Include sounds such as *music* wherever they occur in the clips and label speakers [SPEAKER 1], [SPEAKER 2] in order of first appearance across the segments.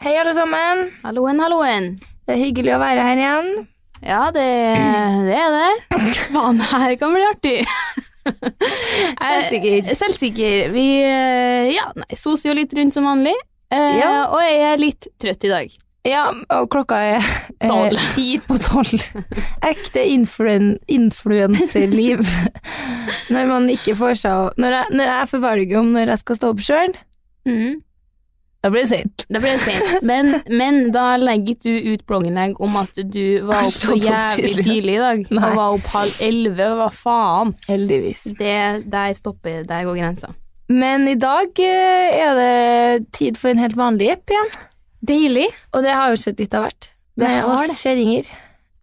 [SPEAKER 1] Hei, alle sammen.
[SPEAKER 2] Halloen, halloen.
[SPEAKER 1] Det er hyggelig å være her igjen.
[SPEAKER 2] Ja, det, det er *laughs* det. Faen, det her kan bli *laughs* artig.
[SPEAKER 1] Selvsikker.
[SPEAKER 2] Jeg- Selvsikker. Vi eh, ja, nei, soser jo litt rundt som vanlig. Eh,
[SPEAKER 1] Ja.
[SPEAKER 2] Og jeg er litt trøtt i dag.
[SPEAKER 1] Ja, og klokka er eh,
[SPEAKER 2] Tolv.
[SPEAKER 1] *laughs* ti på
[SPEAKER 2] *laughs*
[SPEAKER 1] tolv. Ekte influen influenserliv. *laughs* når man ikke får seg å Når jeg, når jeg får valget om når jeg skal stå opp sjøl,
[SPEAKER 2] Mm,
[SPEAKER 1] da blir det seint.
[SPEAKER 2] det ble *laughs* sent. Men, men da legger du ut blogginnlegg om at du var
[SPEAKER 1] Jeg
[SPEAKER 2] opp så
[SPEAKER 1] stod opp
[SPEAKER 2] jævlig
[SPEAKER 1] tidlig.
[SPEAKER 2] tidlig i dag.
[SPEAKER 1] Nei.
[SPEAKER 2] Og var opp halv elleve. Hva faen?
[SPEAKER 1] Heldigvis.
[SPEAKER 2] Det, der stopper Der går grensa.
[SPEAKER 1] Men i dag eh, er det tid for en helt vanlig jepp igjen.
[SPEAKER 2] Deilig.
[SPEAKER 1] Og det har jo skjedd litt av hvert.
[SPEAKER 2] Det
[SPEAKER 1] Med
[SPEAKER 2] har
[SPEAKER 1] oss
[SPEAKER 2] det.
[SPEAKER 1] kjerringer.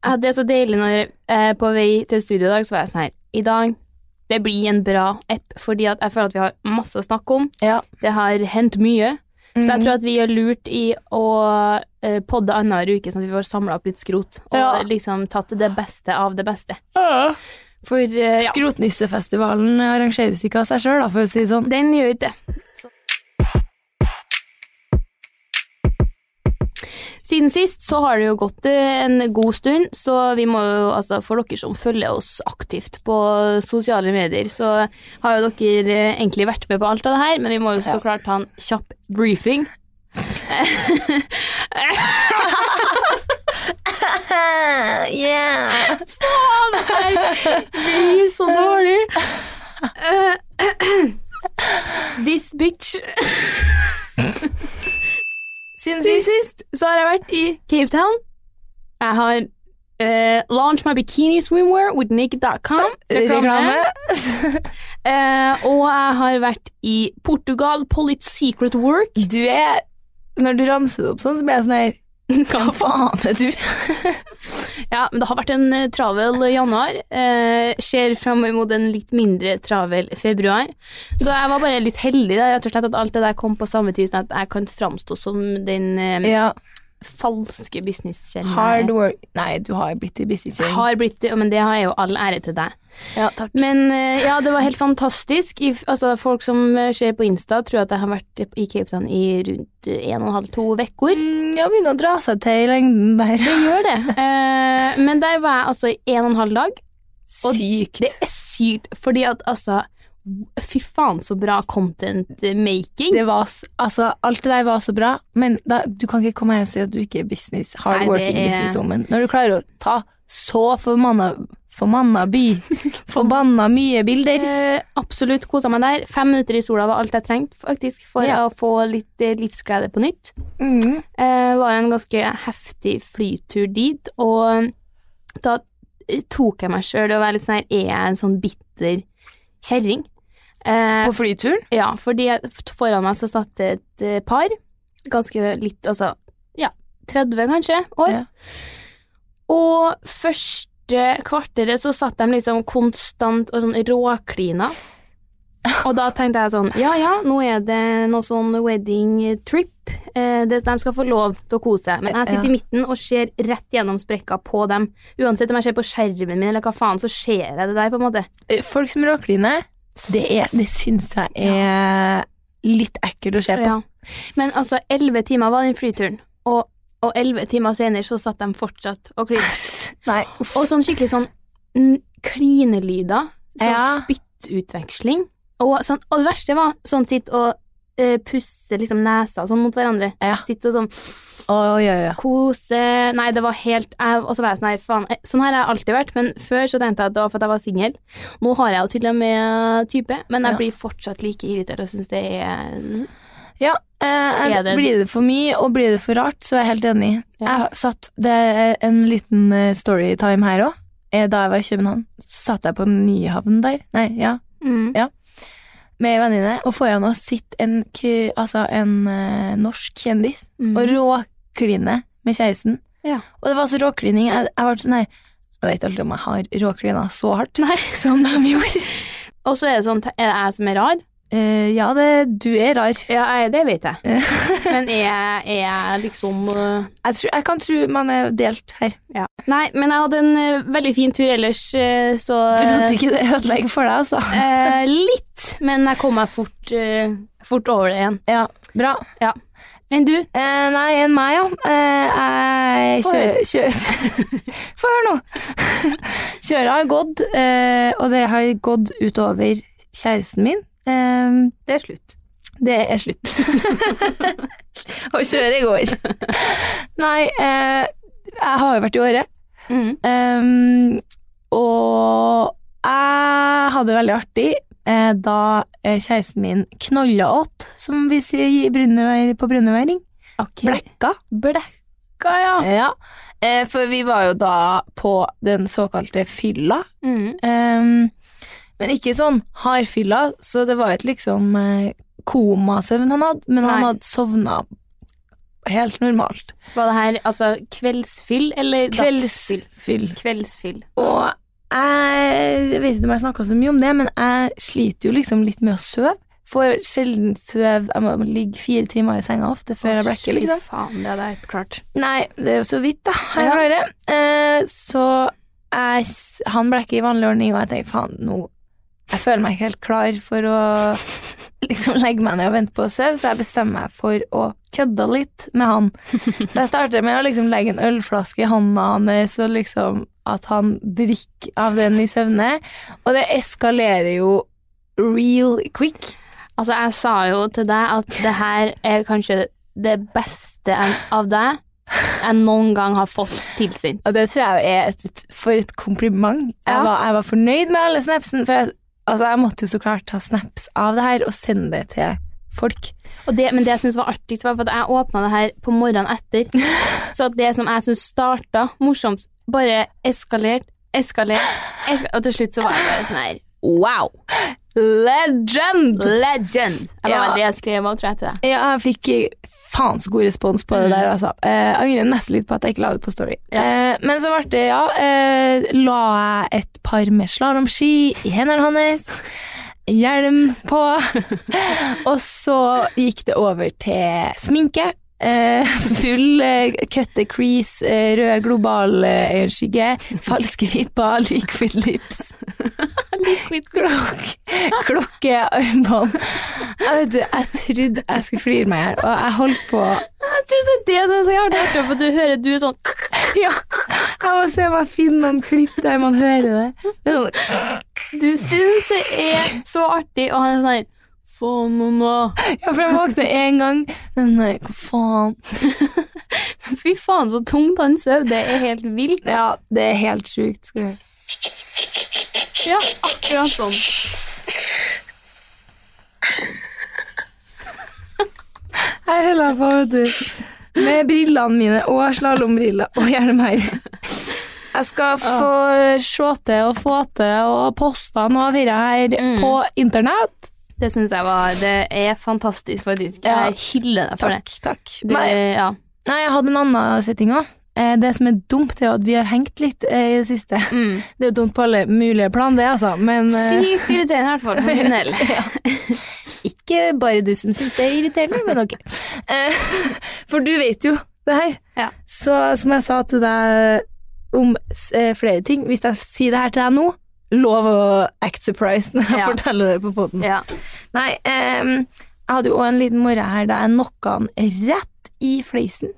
[SPEAKER 2] Ja, det er så deilig når eh, på vei til studio i dag, så var jeg sånn her I dag, det blir en bra app, fordi at jeg føler at vi har masse å snakke om.
[SPEAKER 1] Ja.
[SPEAKER 2] Det har hendt mye. Så jeg tror at vi gjør lurt i å eh, podde annenhver uke, sånn at vi får samla opp litt skrot. Og
[SPEAKER 1] Ja.
[SPEAKER 2] liksom tatt det beste av det beste. For eh, ja,
[SPEAKER 1] Skrotnissefestivalen arrangeres ikke av seg sjøl, for å si det sånn.
[SPEAKER 2] den gjør ikke det. Siden sist så har det jo gått eh, en god stund, så vi må jo, altså for dere som følger oss aktivt på sosiale medier, så har jo dere eh, egentlig vært med på alt av det her, men vi må jo så klart ta en kjapp briefing. blir så dårlig. This bitch. Siden sist, så har jeg vært i Cape Town. Jeg har eh, launched my bikini swimwear with naked.com.
[SPEAKER 1] eh, Reklame.
[SPEAKER 2] *laughs* Eh, og jeg har vært i Portugal, Pull it secret work.
[SPEAKER 1] Du er Når du ramser det opp sånn, så blir jeg sånn her
[SPEAKER 2] *laughs*
[SPEAKER 1] Hva faen er du?
[SPEAKER 2] Ja, men det har vært en eh, travel januar. Eh, ser fram mot en litt mindre travel februar. Så jeg var bare litt heldig, da, rett og slett, at alt det der kom på samme tid, sånn at jeg kan framstå som den eh,
[SPEAKER 1] Ja,
[SPEAKER 2] falske businesskjernen.
[SPEAKER 1] hard
[SPEAKER 2] jeg er.
[SPEAKER 1] work Nei, du har blitt i busy
[SPEAKER 2] Jeg
[SPEAKER 1] kjøring.
[SPEAKER 2] Har blitt det, men det har jeg jo all ære til deg.
[SPEAKER 1] Ja, takk.
[SPEAKER 2] Men eh, ja, det var helt fantastisk. I, altså, folk som eh, ser på Insta, tror at jeg har vært i Cape Town i rundt eh, en og en halv, to uker.
[SPEAKER 1] Mm, Ja, begynner å dra seg til i lengden der.
[SPEAKER 2] Det gjør det.
[SPEAKER 1] *laughs*
[SPEAKER 2] Eh, men der var jeg altså i en og en halv dag. Og
[SPEAKER 1] Sykt.
[SPEAKER 2] Det er sykt, fordi at altså Fy faen, så bra content eh, making.
[SPEAKER 1] Det var, s- altså, alt det der var så bra, men da, du kan ikke komme her og si at du ikke er business, hard
[SPEAKER 2] Nei, det
[SPEAKER 1] working
[SPEAKER 2] er-
[SPEAKER 1] businesswoman. Når du klarer å ta så formanna, formanna
[SPEAKER 2] *laughs*
[SPEAKER 1] by, forbanna mye bilder.
[SPEAKER 2] Eh, absolutt kosa meg der. Fem minutter i sola var alt jeg trengte faktisk for
[SPEAKER 1] Ja.
[SPEAKER 2] å få litt eh, livsglede på nytt.
[SPEAKER 1] Mm.
[SPEAKER 2] Eh, var en ganske heftig flytur dit, og eh, da tok jeg meg sjøl i å være litt sånn her Er jeg en sånn bitter kjerring? Eh,
[SPEAKER 1] På flyturen?
[SPEAKER 2] Ja, fordi jeg- foran meg så satt det et eh, par, ganske litt, altså, ja, 30 kanskje, år.
[SPEAKER 1] Ja.
[SPEAKER 2] Og første kvarteret så satt de liksom konstant og sånn råklina. Og da tenkte jeg sånn, ja ja, nå er det noe sånn wedding trip. Eh, det, de skal få lov til å kose seg. Men jeg sitter
[SPEAKER 1] Ja.
[SPEAKER 2] i midten og ser rett gjennom sprekka på dem. Uansett om jeg ser på skjermen min eller hva faen, så ser jeg det der, på en måte.
[SPEAKER 1] Eh, Folk som råkliner, det, er- det syns jeg er litt ekkelt å se på.
[SPEAKER 2] Ja. Men altså, elleve timer var den flyturen, og og elleve timer senere så satt de fortsatt og klinte.
[SPEAKER 1] Nei,
[SPEAKER 2] Og sånn skikkelig sånn mm, klinelyder, sånn
[SPEAKER 1] Ja.
[SPEAKER 2] spyttutveksling. Og, sånn, og det verste var sånn sitt og eh, pusse liksom nesa og sånn mot hverandre.
[SPEAKER 1] Ja.
[SPEAKER 2] Sitt og sånn
[SPEAKER 1] Oi, oi, oi.
[SPEAKER 2] kose Nei, det var helt jeg, Og så var jeg sånn her, faen eh, Sånn her har jeg alltid vært, men før så tenkte jeg at det var for at jeg var singel. Nå har jeg jo til og med type, men jeg
[SPEAKER 1] Ja.
[SPEAKER 2] blir fortsatt like irritert og syns det er
[SPEAKER 1] Ja, eh,
[SPEAKER 2] Er det-
[SPEAKER 1] blir det for mye og blir det for rart, så er jeg helt enig.
[SPEAKER 2] Ja.
[SPEAKER 1] Jeg har satt, det er en liten eh, storytime her òg. Da jeg var i København, så satt jeg på Nyhavn der, nei, ja,
[SPEAKER 2] mm.
[SPEAKER 1] med ei venninne, og foran oss sitter en, k- altså en eh, norsk kjendis
[SPEAKER 2] Mm.
[SPEAKER 1] og råkline med kjæresten.
[SPEAKER 2] Ja.
[SPEAKER 1] Og det var så råklining. Jeg, jeg var sånn her Jeg vet aldri om jeg har råklina så hardt *laughs* som de gjorde.
[SPEAKER 2] Og så er det sånn, er det jeg som er rar?
[SPEAKER 1] Eh, ja, det, du er rar. *laughs*
[SPEAKER 2] Ja, jeg, det vet *laughs* jeg. Men er jeg, er jeg liksom øh,
[SPEAKER 1] Jeg, tror, jeg kan tro man er delt her.
[SPEAKER 2] ja. Nei, men jeg hadde en øh, veldig fin tur ellers, øh, så
[SPEAKER 1] Du lot ikke det ødelegge for deg, altså.
[SPEAKER 2] *laughs* øh, Litt, men jeg kom meg fort, øh, fort over det igjen.
[SPEAKER 1] Ja, bra.
[SPEAKER 2] Ja. Men du,
[SPEAKER 1] Eh, nei, enn meg, ja. Eh, jeg
[SPEAKER 2] Få
[SPEAKER 1] kjø-
[SPEAKER 2] høre.
[SPEAKER 1] kjø- *laughs* Få høre nå! Kjøret har gått, eh, og det har gått utover kjæresten min. Eh,
[SPEAKER 2] det er slutt.
[SPEAKER 1] det er slutt.
[SPEAKER 2] *laughs*
[SPEAKER 1] og kjøret går. *laughs* Nei, eh, jeg har jo vært i Åre,
[SPEAKER 2] Mhm.
[SPEAKER 1] eh, og jeg hadde det veldig artig eh, da eh, kjæresten min knolla åt, som vi sier i Brunøy- på Brunøyværing. Blekka.
[SPEAKER 2] Blekka, ja.
[SPEAKER 1] Ja, eh, for vi var jo da på den såkalte fylla.
[SPEAKER 2] Mhm.
[SPEAKER 1] Ehm, men ikke sånn hardfylla, så det var et liksom eh, komasøvn han hadde, men han
[SPEAKER 2] Nei.
[SPEAKER 1] hadde sovna helt normalt.
[SPEAKER 2] Var det her altså kveldsfyll eller dagsfyll?
[SPEAKER 1] Kveldsfyll.
[SPEAKER 2] Kveldsfyll.
[SPEAKER 1] Og jeg, jeg vet ikke om jeg snakka så mye om det, men jeg sliter jo liksom litt med å sove. Får sjelden sove. Jeg må ligge fire timer i senga ofte før jeg blekker, liksom.
[SPEAKER 2] Fy faen, det hadde jeg ikke klart.
[SPEAKER 1] Nei, det er jo så vidt, da. Jeg
[SPEAKER 2] Ja.
[SPEAKER 1] klarer det. Eh, så jeg, s- han ble ikke i vanlig ordning, og jeg tenkte faen, nå Jeg føler meg ikke helt klar for å liksom legge meg ned og vente på å sove, så jeg bestemmer meg for å kødde litt med han. Så jeg starter med å liksom legge en ølflaske i hånda hans, og liksom at han drikker av den i søvne. Og det eskalerer jo real quick.
[SPEAKER 2] Altså, jeg sa jo til deg at det her er kanskje det beste en- av deg jeg noen gang har fått tilsyn.
[SPEAKER 1] Og det tror jeg jo er et, ut- for et kompliment. Jeg,
[SPEAKER 2] Ja.
[SPEAKER 1] var, jeg var fornøyd med alle snapsen, for jeg, altså, jeg måtte jo så klart ta snaps av det her og sende det til folk.
[SPEAKER 2] Og det, men det jeg syntes var artigst, var for at jeg åpna det her på morgenen etter. Så at det som jeg syntes starta morsomt, bare eskalerte, eskalerte, eska- og til slutt så var jeg bare sånn her
[SPEAKER 1] Wow! Legend!
[SPEAKER 2] Legend! Det var
[SPEAKER 1] Ja.
[SPEAKER 2] vel det jeg skrev òg, tror jeg, til deg.
[SPEAKER 1] Ja, jeg fikk eh, faen så god respons på det der, altså. Eh, Jeg angrer nesten litt på at jeg ikke la det på Story. Eh, men så ble det, ja, eh, la jeg et par med slalåmski i hendene hans, hjelm på, og så gikk det over til sminke. Eh, full eh, cutte crease, eh, rød global eh, øyenskygge, falske vipper, liquid lips. Klokk, klokke, armbånd. Jeg, vet du, jeg trodde jeg skulle flire meg her, og jeg holdt på
[SPEAKER 2] Jeg tror det er det som er så jævlig artig, for du hører du er sånn
[SPEAKER 1] Ja, jeg må se om jeg finner noen klipp der man hører det. Det er sånn
[SPEAKER 2] Du syns det er så artig, og han er sånn her Faen, mamma.
[SPEAKER 1] Ja, for jeg våkner én gang, men nei, hva faen?
[SPEAKER 2] Fy faen, så tungt han søv. Det er helt vilt.
[SPEAKER 1] Ja, det er helt sjukt. Skal vi høre.
[SPEAKER 2] Ja, akkurat sånn.
[SPEAKER 1] Her holder jeg på, vet du. Med brillene mine og slalåmbriller og hjelm her. *laughs* Jeg skal få se til og få til og poste noe av dette her
[SPEAKER 2] Mm.
[SPEAKER 1] på internett.
[SPEAKER 2] Det syns jeg var Det er fantastisk, faktisk. Jeg
[SPEAKER 1] Ja.
[SPEAKER 2] hyller deg for det.
[SPEAKER 1] takk.
[SPEAKER 2] det
[SPEAKER 1] Nei,
[SPEAKER 2] ja.
[SPEAKER 1] Nei, jeg hadde en annen setting òg. eh, det som er dumt, er jo at vi har hengt litt eh, i det siste. *laughs* Det er jo dumt på alle mulige plan, det, altså. Men eh,
[SPEAKER 2] Mm. Sykt irriterende i hvert fall for min
[SPEAKER 1] *laughs*
[SPEAKER 2] del.
[SPEAKER 1] ikke bare du som syns det er irriterende, men
[SPEAKER 2] *laughs*
[SPEAKER 1] ok. Eh, For du vet jo det her.
[SPEAKER 2] Ja.
[SPEAKER 1] Så som jeg sa til deg om s- eh, flere ting, hvis jeg sier det her til deg nå, lov å act surprised når jeg
[SPEAKER 2] Ja.
[SPEAKER 1] forteller det på poden.
[SPEAKER 2] Ja.
[SPEAKER 1] Nei, ehm, jeg hadde jo også en liten morgen her da jeg knocka han rett i fleisen.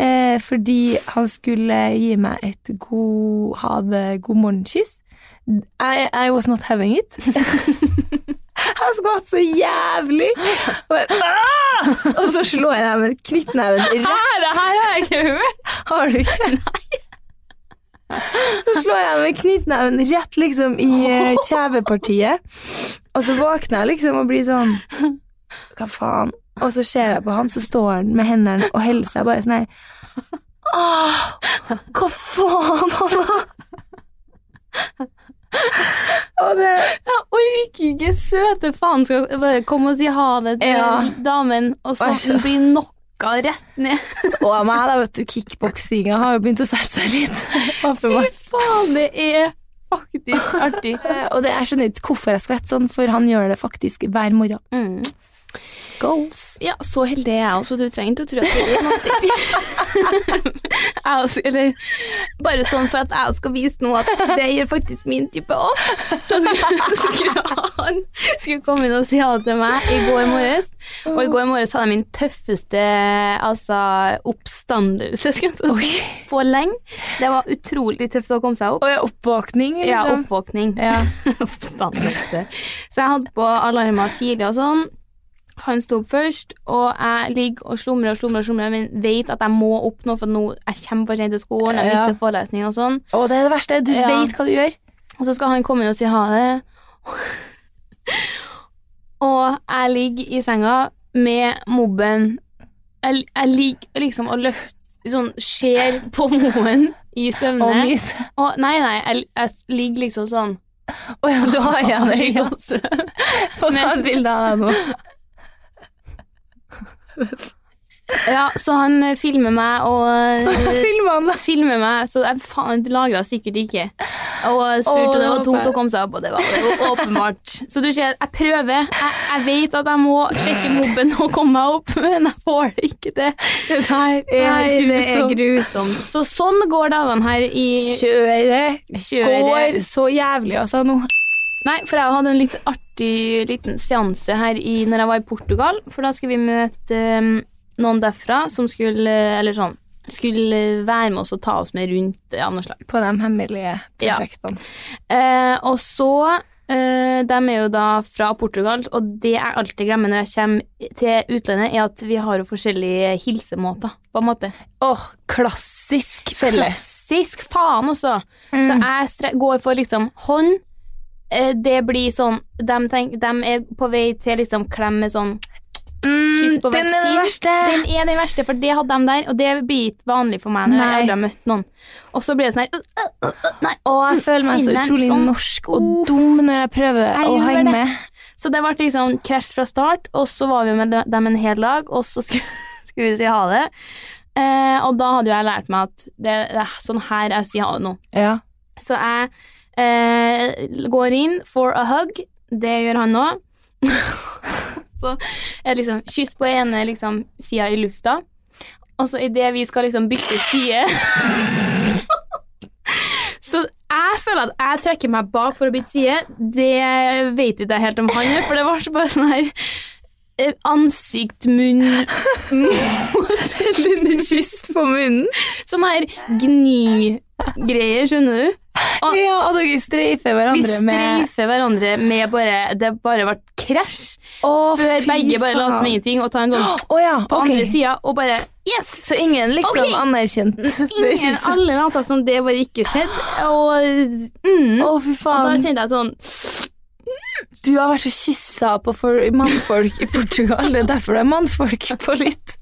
[SPEAKER 1] Eh, fordi han skulle gi meg et god ha det, god morgenkyss. I, I was not having it. *laughs* Han skvatt så jævlig! Og, jeg, «Ah!» og så slår jeg deg med knyttneven rett
[SPEAKER 2] Det her har jeg ikke hørt.
[SPEAKER 1] har du ikke? *laughs* Nei. Så slår jeg med knyttneven rett liksom i eh, kjevepartiet. Og så våkner jeg liksom og blir sånn Hva faen? Og så ser jeg på han, så står han med hendene og holder seg bare sånn her. Åh, hva faen, *laughs* mamma? Og det
[SPEAKER 2] Jeg orker ikke søte faen skal bare komme og si ha det til
[SPEAKER 1] Ja.
[SPEAKER 2] damen, og så
[SPEAKER 1] Vær så-
[SPEAKER 2] den blir knocka rett
[SPEAKER 1] *laughs*
[SPEAKER 2] ned.
[SPEAKER 1] Og meg, da, vet du. Kickboksinga har jo begynt å sette seg litt. Åpenbart.
[SPEAKER 2] Faen, det er faktisk artig.
[SPEAKER 1] *laughs* Eh, Og det, jeg skjønner ikke hvorfor jeg skvetter sånn, for han gjør det faktisk hver morgen.
[SPEAKER 2] Mm.
[SPEAKER 1] Goals.
[SPEAKER 2] Ja, så heldig er jeg også. Du trenger ikke å tro at det er noe. jeg også, eller bare sånn for at jeg skal vise noe at det gjør faktisk min type òg. Så skulle så skulle han skulle komme inn og si ha det til meg i går morges. Og i går morges hadde jeg min tøffeste altså, oppstandelse skal jeg så si, på lenge. Det var utrolig tøft å komme seg opp.
[SPEAKER 1] Og ja, oppvåkning,
[SPEAKER 2] Ja,
[SPEAKER 1] liksom.
[SPEAKER 2] oppvåkning.
[SPEAKER 1] Ja.
[SPEAKER 2] oppstandelse. Så jeg hadde på alarmer tidlig og sånn. Han sto opp først, og jeg ligger og slumrer og slumrer, og slumrer men vet at jeg må opp nå, for nå jeg kommer for sent til skolen, jeg
[SPEAKER 1] Ja.
[SPEAKER 2] mister forelesning og sånn.
[SPEAKER 1] *laughs* Og det er det verste, du
[SPEAKER 2] Ja.
[SPEAKER 1] vet hva du gjør.
[SPEAKER 2] Og så skal han komme inn og si ha det. *laughs* og jeg ligger i senga med mobben. Jeg, jeg ligger liksom og løfter Sånn ser på moen i søvne.
[SPEAKER 1] Og mys.
[SPEAKER 2] *laughs* Og- nei, nei, jeg, jeg ligger liksom sånn
[SPEAKER 1] Å *laughs* ja, du har igjen det.
[SPEAKER 2] Ja.
[SPEAKER 1] *laughs* Få ta et bilde av deg nå.
[SPEAKER 2] *laughs* Ja, så han eh, filmer meg og eh,
[SPEAKER 1] Filmer det.
[SPEAKER 2] filmer meg, så jeg faen, det lagra sikkert ikke. Og spurte
[SPEAKER 1] Åh,
[SPEAKER 2] om
[SPEAKER 1] det
[SPEAKER 2] det
[SPEAKER 1] håper
[SPEAKER 2] var tungt
[SPEAKER 1] jeg.
[SPEAKER 2] å komme seg opp, og det var *laughs* det var åpenbart. Så du ser, jeg prøver. Jeg, jeg vet at jeg må sjekke mobben og komme meg opp, men jeg får det ikke til.
[SPEAKER 1] Nei,
[SPEAKER 2] Nei, det er grusomt. Så sånn går dagene her i
[SPEAKER 1] Kjøret går
[SPEAKER 2] kjøret.
[SPEAKER 1] så jævlig, altså, nå.
[SPEAKER 2] Nei, for jeg hadde en litt artig liten seanse her i, når jeg var i Portugal, for da skulle vi møte eh, noen derfra som skulle, eller sånn, skulle være med oss og ta oss med rundt eh, av noe slag.
[SPEAKER 1] På de hemmelige
[SPEAKER 2] Ja.
[SPEAKER 1] prosjektene.
[SPEAKER 2] Eh, og så eh, De er jo da fra Portugal, og det jeg alltid glemmer når jeg kommer til utlandet, er at vi har jo forskjellige hilsemåter, på en måte.
[SPEAKER 1] Åh, klassisk felle.
[SPEAKER 2] Klassisk faen, også. Så
[SPEAKER 1] Mm.
[SPEAKER 2] jeg stre går for liksom hånd. Eh, det blir sånn De, tenk, de er på vei til liksom klem med sånn *laughs* Kyss på hvert
[SPEAKER 1] Mm, den er den
[SPEAKER 2] kinn.
[SPEAKER 1] verste.
[SPEAKER 2] Den er den verste, for det hadde de der, og det blir ikke vanlig for meg når
[SPEAKER 1] Nei.
[SPEAKER 2] jeg aldri har møtt noen. Og så blir det sånn her øh, øh, øh, Nei,
[SPEAKER 1] Og jeg føler meg så
[SPEAKER 2] Inne,
[SPEAKER 1] utrolig
[SPEAKER 2] sånn.
[SPEAKER 1] norsk og dum når jeg prøver
[SPEAKER 2] Jeg
[SPEAKER 1] å
[SPEAKER 2] gjør
[SPEAKER 1] henge
[SPEAKER 2] det.
[SPEAKER 1] med.
[SPEAKER 2] Så det ble liksom krasj fra start, og så var vi med de- dem en hel dag, og så *laughs* skulle, skulle vi si ha det. Eh, og da hadde jo jeg lært meg at det, det er sånn her jeg sier ha det nå.
[SPEAKER 1] Ja.
[SPEAKER 2] Så jeg eh, går inn for a hug. Det gjør han nå. *laughs* så jeg liksom kyss på ene liksom, sida i lufta, og så idet vi skal liksom bytte side *laughs* Så jeg føler at jeg trekker meg bak for å bytte side. Det vet ikke jeg helt om han gjør, for det var så bare sånn her eh, Ansikt,
[SPEAKER 1] *laughs*
[SPEAKER 2] munn
[SPEAKER 1] Liten kyss på munnen.
[SPEAKER 2] Sånn her gni-greier, skjønner du?
[SPEAKER 1] Ja, og dere streifer
[SPEAKER 2] Vi
[SPEAKER 1] hverandre med
[SPEAKER 2] streifer hverandre med bare Det bare ble krasj.
[SPEAKER 1] Å,
[SPEAKER 2] Før
[SPEAKER 1] fy
[SPEAKER 2] begge bare later som
[SPEAKER 1] faen.
[SPEAKER 2] ingenting og tar en sånn
[SPEAKER 1] Å ja,
[SPEAKER 2] på
[SPEAKER 1] ok.
[SPEAKER 2] andre sida og bare Yes!
[SPEAKER 1] Så ingen liksom
[SPEAKER 2] Ok.
[SPEAKER 1] anerkjente *laughs* det
[SPEAKER 2] Ingen,
[SPEAKER 1] kysset?
[SPEAKER 2] alle later som det bare ikke skjedde, og mm.
[SPEAKER 1] Å, fy
[SPEAKER 2] Da
[SPEAKER 1] faen.
[SPEAKER 2] kjente jeg sånn
[SPEAKER 1] Du har vært så kyssa på for mannfolk i Portugal. Det er derfor det er mannfolk på litt.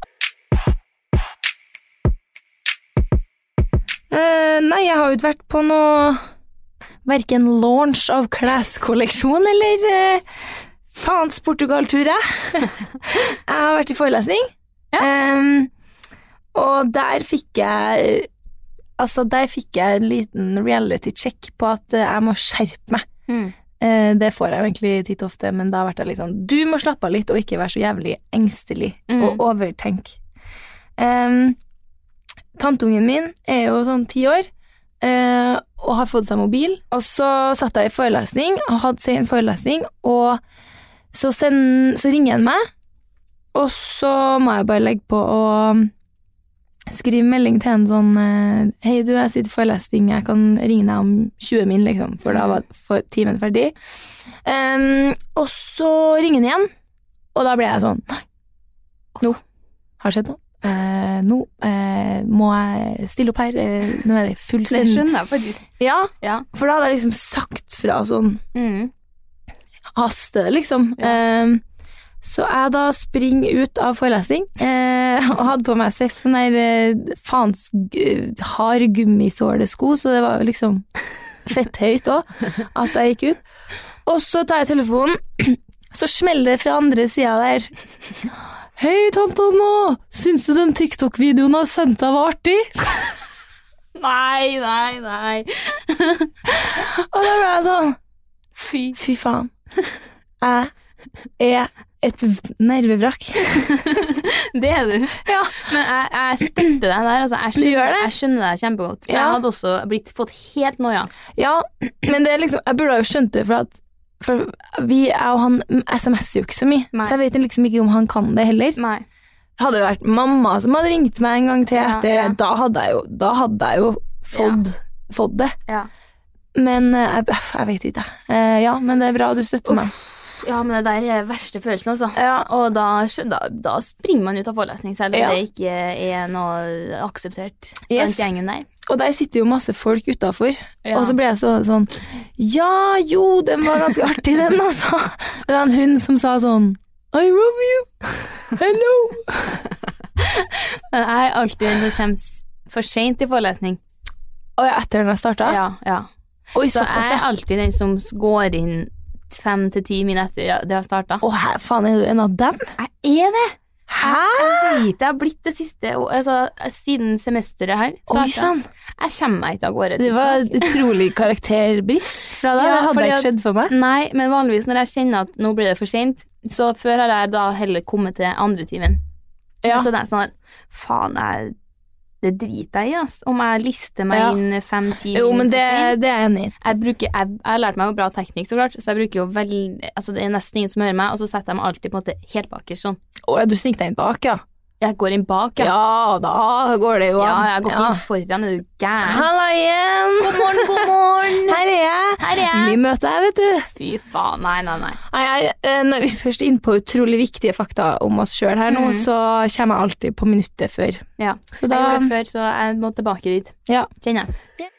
[SPEAKER 1] Eh, nei, jeg har jo ikke vært på noe Verken launch av kleskolleksjon eller eh, faens Portugal-tur, jeg. *laughs* jeg har vært i forelesning. Em, og der fikk jeg altså Der fikk jeg en liten reality check på at eh, jeg må skjerpe meg.
[SPEAKER 2] Mm.
[SPEAKER 1] Eh, Det får jeg jo egentlig titt og ofte, men da har vært det litt sånn Du må slappe av litt og ikke være så jævlig engstelig
[SPEAKER 2] Mm.
[SPEAKER 1] og overtenke. Em, tanteungen min er jo sånn ti år eh, og har fått seg mobil. Og så satt jeg i forelesning, og hadde sen forelesning, og så, send, så ringer han meg, og så må jeg bare legge på og um, skrive melding til en sånn eh, Hei, du, jeg sitter i forelesning, jeg kan ringe deg om 20 min, liksom, for da var for timen ferdig. Em, og så ringer han igjen, og da ble jeg sånn Nei, nå har det skjedd noe. Eh, nå eh, må jeg stille opp her. Eh, nå er det
[SPEAKER 2] Det
[SPEAKER 1] fullstendig
[SPEAKER 2] skjønner jeg faktisk.
[SPEAKER 1] Ja,
[SPEAKER 2] Ja.
[SPEAKER 1] for da hadde jeg liksom sagt fra sånn
[SPEAKER 2] Mm.
[SPEAKER 1] haste det, liksom. Ehm, så jeg da springer ut av forelesning eh, og hadde på meg seff sånn der eh, faens g- hard gummisålesko, så det var jo liksom fetthøyt òg at jeg gikk ut. Og så tar jeg telefonen, så smeller det fra andre sida der. Hei, tante Anna! Syns du den TikTok-videoen jeg sendte deg var artig?
[SPEAKER 2] Nei, nei, nei.
[SPEAKER 1] Og da ble jeg sånn
[SPEAKER 2] Fy.
[SPEAKER 1] Fy faen. Jeg er et v- nervevrak.
[SPEAKER 2] Det er du. Men jeg, jeg støtter deg der. Altså.
[SPEAKER 1] gjør
[SPEAKER 2] Jeg, skjønner,
[SPEAKER 1] det?
[SPEAKER 2] jeg skjønner deg kjempegodt.
[SPEAKER 1] Ja.
[SPEAKER 2] Jeg hadde også blitt fått helt noia.
[SPEAKER 1] Ja, men det er liksom, jeg burde ha jo skjønt det, for at for vi, jeg og han SMS-er jo ikke så mye,
[SPEAKER 2] Nei.
[SPEAKER 1] så jeg vet liksom ikke om han kan det heller.
[SPEAKER 2] Nei.
[SPEAKER 1] Hadde det vært mamma som hadde ringt meg en gang til
[SPEAKER 2] Ja,
[SPEAKER 1] etter,
[SPEAKER 2] ja.
[SPEAKER 1] Da, hadde jeg jo, da hadde jeg jo fått, fått det.
[SPEAKER 2] Ja.
[SPEAKER 1] Men eh, jeg, jeg vet ikke, jeg. Eh, ja, men det er bra du støtter meg.
[SPEAKER 2] ja, men det der er verste følelsen, altså.
[SPEAKER 1] Ja.
[SPEAKER 2] Og da, skjø- da, da springer man ut av forelesning, selv om
[SPEAKER 1] Ja.
[SPEAKER 2] det ikke er noe akseptert
[SPEAKER 1] Yes.
[SPEAKER 2] blant gjengen der.
[SPEAKER 1] Og der sitter jo masse folk utafor,
[SPEAKER 2] Ja.
[SPEAKER 1] og så ble jeg så, sånn Ja, jo, den var ganske artig, den, altså. Det var en hund som sa sånn I love you.
[SPEAKER 2] *laughs*
[SPEAKER 1] Hello.
[SPEAKER 2] Men jeg er alltid den som kommer s- for seint i forelesning.
[SPEAKER 1] Og jeg- etter den jeg starta?
[SPEAKER 2] Ja, ja.
[SPEAKER 1] Oi,
[SPEAKER 2] Så
[SPEAKER 1] såpass,
[SPEAKER 2] jeg
[SPEAKER 1] ja.
[SPEAKER 2] er alltid den som s- går inn fem til ti minutter etter det har starta.
[SPEAKER 1] Å, her, faen, er du en av dem?
[SPEAKER 2] Jeg er det!
[SPEAKER 1] Hæ?
[SPEAKER 2] Jeg vet jeg har blitt det siste å- altså, siden semesteret her.
[SPEAKER 1] Oi
[SPEAKER 2] startet.
[SPEAKER 1] sann.
[SPEAKER 2] Jeg kommer meg ikke av gårde.
[SPEAKER 1] Det var
[SPEAKER 2] tidsnok.
[SPEAKER 1] utrolig karakterbrist fra deg.
[SPEAKER 2] Ja,
[SPEAKER 1] det hadde
[SPEAKER 2] fordi
[SPEAKER 1] ikke
[SPEAKER 2] at-
[SPEAKER 1] skjedd for meg.
[SPEAKER 2] Nei, men vanligvis når jeg kjenner at nå blir det for sent, så før har jeg da heller kommet til andre timen.
[SPEAKER 1] Ja.
[SPEAKER 2] Så det er sånn faen, jeg, det driter jeg i, ass. Om jeg lister meg
[SPEAKER 1] Ja.
[SPEAKER 2] inn fem-ti
[SPEAKER 1] Jo, men
[SPEAKER 2] minutter
[SPEAKER 1] det,
[SPEAKER 2] for sent.
[SPEAKER 1] det er jeg enig i.
[SPEAKER 2] Jeg, bruker, jeg, jeg har lært meg jo bra teknikk, så klart, så jeg bruker jo veldig altså, Det er nesten ingen som hører meg, og så setter jeg meg alltid på en måte helt bakerst sånn.
[SPEAKER 1] Å ja, du sniker deg inn bak, ja.
[SPEAKER 2] Jeg går inn bak,
[SPEAKER 1] ja?
[SPEAKER 2] ja.
[SPEAKER 1] da går det jo
[SPEAKER 2] Ja,
[SPEAKER 1] an.
[SPEAKER 2] jeg går ikke inn foran, er du gæren?
[SPEAKER 1] Halla igjen!
[SPEAKER 2] God morgen, god morgen!
[SPEAKER 1] *laughs* Her er jeg.
[SPEAKER 2] Her er jeg.
[SPEAKER 1] Vi møter deg, vet du.
[SPEAKER 2] Fy faen, nei, nei, nei.
[SPEAKER 1] Nei, jeg, eh, når vi først er inne på utrolig viktige fakta om oss sjøl her nå,
[SPEAKER 2] Mhm.
[SPEAKER 1] så kommer jeg alltid på minuttet før.
[SPEAKER 2] Ja.
[SPEAKER 1] Så da
[SPEAKER 2] Jeg gjorde det før, så jeg må tilbake dit.
[SPEAKER 1] Ja.
[SPEAKER 2] Kjenner jeg.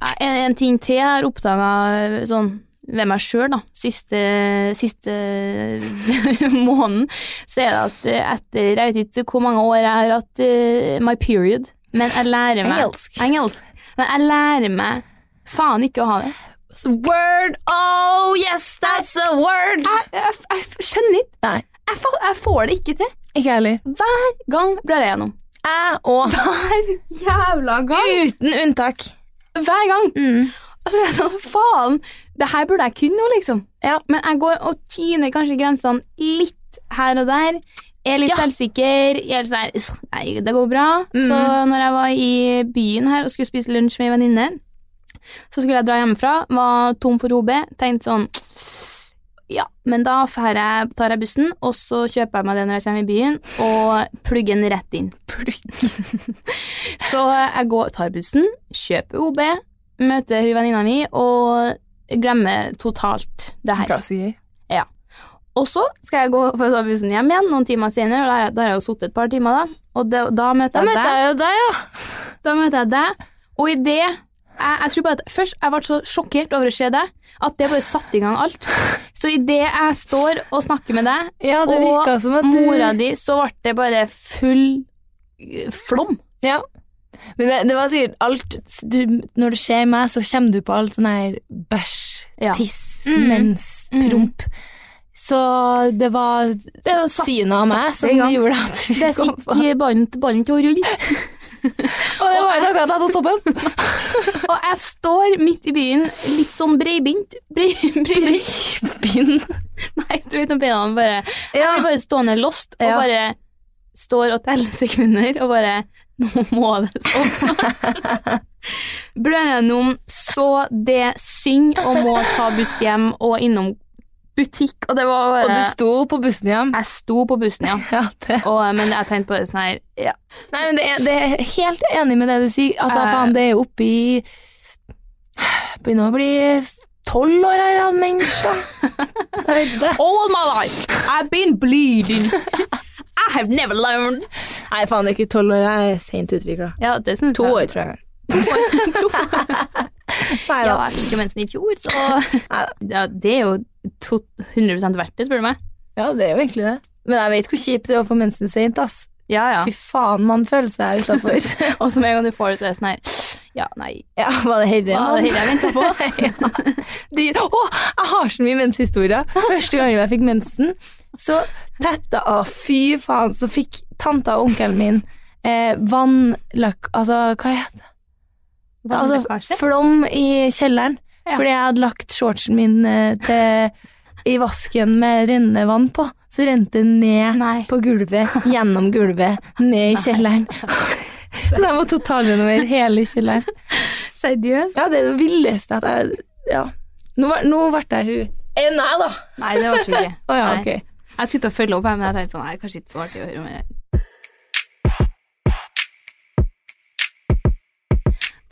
[SPEAKER 2] Ja, En, en ting til jeg har oppdaga sånn ved meg sjøl, da, siste, siste eh, *laughs* måneden, så er det at eh, etter Jeg vet ikke hvor mange år jeg har hatt eh, my period, men jeg lærer meg
[SPEAKER 1] Engelsk.
[SPEAKER 2] Engelsk. Men jeg lærer meg faen ikke å ha det.
[SPEAKER 1] Word! Oh yes, that's a word!
[SPEAKER 2] Jeg, jeg, jeg skjønner ikke.
[SPEAKER 1] Nei,
[SPEAKER 2] Jeg, fa- jeg får det ikke til.
[SPEAKER 1] ikke jeg heller.
[SPEAKER 2] Hver gang blar jeg gjennom.
[SPEAKER 1] Jeg *laughs* òg.
[SPEAKER 2] Hver jævla gang.
[SPEAKER 1] Uten unntak.
[SPEAKER 2] Hver gang. Og så er jeg sånn, faen, det her burde jeg kunne nå, liksom.
[SPEAKER 1] Ja.
[SPEAKER 2] Men jeg går og tyner kanskje grensene litt her og der. Er litt
[SPEAKER 1] Ja.
[SPEAKER 2] selvsikker. Jeg er litt sånn, «Ugh, nei, det går bra. Så når jeg var i byen her og skulle spise lunsj med en venninne, så skulle jeg dra hjemmefra, var tom for OB, tenkte sånn, ja, men da fer jeg, tar jeg bussen, og så kjøper jeg meg det når jeg kommer i byen, og plugger den rett inn. så jeg går, tar bussen, kjøper OB, møter hun venninna mi, og glemmer totalt det her.
[SPEAKER 1] Klassiker.
[SPEAKER 2] Og så skal jeg gå for å ta bussen hjem igjen noen timer senere, og da har jeg, da har jeg jo sittet et par timer, da. Og da, da møter
[SPEAKER 1] Da
[SPEAKER 2] jeg
[SPEAKER 1] møter
[SPEAKER 2] deg.
[SPEAKER 1] jeg jo deg, ja.
[SPEAKER 2] Da møter jeg deg, og i det jeg, jeg tror bare at Først jeg ble så sjokkert over å se deg at det bare satte i gang alt. Så idet jeg står og snakker med deg,
[SPEAKER 1] Ja, det virka som at
[SPEAKER 2] og
[SPEAKER 1] du
[SPEAKER 2] mora di, så ble det bare full eh, flom.
[SPEAKER 1] Ja. Men det, det var sikkert alt du, Når du ser meg, så kommer du på alt sånn her bæsj,
[SPEAKER 2] Ja.
[SPEAKER 1] tiss,
[SPEAKER 2] Mm.
[SPEAKER 1] mens,
[SPEAKER 2] Mm.
[SPEAKER 1] promp, Så det var, det var
[SPEAKER 2] satt-
[SPEAKER 1] synet av meg
[SPEAKER 2] satte i
[SPEAKER 1] som
[SPEAKER 2] gang.
[SPEAKER 1] gjorde at vi
[SPEAKER 2] Jeg
[SPEAKER 1] kom
[SPEAKER 2] fikk
[SPEAKER 1] på.
[SPEAKER 2] eh, ballen, ballen til å rulle.
[SPEAKER 1] Og det var jo akkurat jeg hadde toppen.
[SPEAKER 2] Og jeg står midt i byen, litt sånn breibint. Brei, *laughs* breibint.
[SPEAKER 1] Bind.
[SPEAKER 2] Nei, du vet når bena bare Jeg
[SPEAKER 1] Ja. *laughs*
[SPEAKER 2] blir bare stående lost og
[SPEAKER 1] Ja.
[SPEAKER 2] bare står og teller sekunder og bare Nå må det stoppe snart.
[SPEAKER 1] *laughs*
[SPEAKER 2] Blør gjennom så det synger og må ta buss hjem og innom butikk, og det var
[SPEAKER 1] Og
[SPEAKER 2] bare
[SPEAKER 1] du sto på bussen hjem.
[SPEAKER 2] Jeg sto på bussen, ja.
[SPEAKER 1] Ja, det.
[SPEAKER 2] Og, men jeg tenkte på det sånn her ja.
[SPEAKER 1] Nei, men det er, det er helt enig med det du sier. Altså,
[SPEAKER 2] Eh.
[SPEAKER 1] faen, det er jo oppi Begynner å bli tolv år her, han mennesket. *laughs* Jeg vet det.
[SPEAKER 2] All my life I've been bleeding. I have never learned.
[SPEAKER 1] Nei, faen, det er ikke tolv år, jeg er sent utvikla.
[SPEAKER 2] Ja, det synes
[SPEAKER 1] *laughs* To
[SPEAKER 2] jeg.
[SPEAKER 1] år, tror jeg. Nei
[SPEAKER 2] Ja,
[SPEAKER 1] da.
[SPEAKER 2] jeg fikk jo mensen i fjor, så ja, Det er jo to- 100 verdt det, spør du meg.
[SPEAKER 1] Ja, det er jo egentlig det. Men jeg vet hvor kjipt det er å få mensen seint, ass.
[SPEAKER 2] Ja, ja.
[SPEAKER 1] Fy faen, man føler seg utafor. *laughs*
[SPEAKER 2] Og så med en gang du får det, så er det sånn her Ja, nei.
[SPEAKER 1] ja, var det herre,
[SPEAKER 2] Hva er det her jeg venter på?
[SPEAKER 1] *laughs* ja. Drit. Å, jeg har så mye menshistorier. Første gangen jeg fikk mensen, så tetta av Fy faen, så fikk tanta og onkelen min eh, vannløk... Altså, hva heter det? Altså,
[SPEAKER 2] Vannlekkasje?
[SPEAKER 1] flom i kjelleren.
[SPEAKER 2] Ja.
[SPEAKER 1] Fordi jeg hadde lagt shortsen min eh, til, i vasken med rennende vann på. Så rente det ned
[SPEAKER 2] Nei.
[SPEAKER 1] på gulvet, gjennom gulvet, ned i kjelleren. *laughs* så jeg må totalrenovere hele kjelleren.
[SPEAKER 2] Seriøst?
[SPEAKER 1] Ja, det er det villeste at jeg Ja. Nå, var, nå ble jeg hun Eh, Nei da.
[SPEAKER 2] Nei, det var ikke det.
[SPEAKER 1] Å ja,
[SPEAKER 2] Nei.
[SPEAKER 1] ok.
[SPEAKER 2] Jeg skulle til å følge opp her, men jeg tenkte sånn Nei, kanskje ikke så artig å høre om det.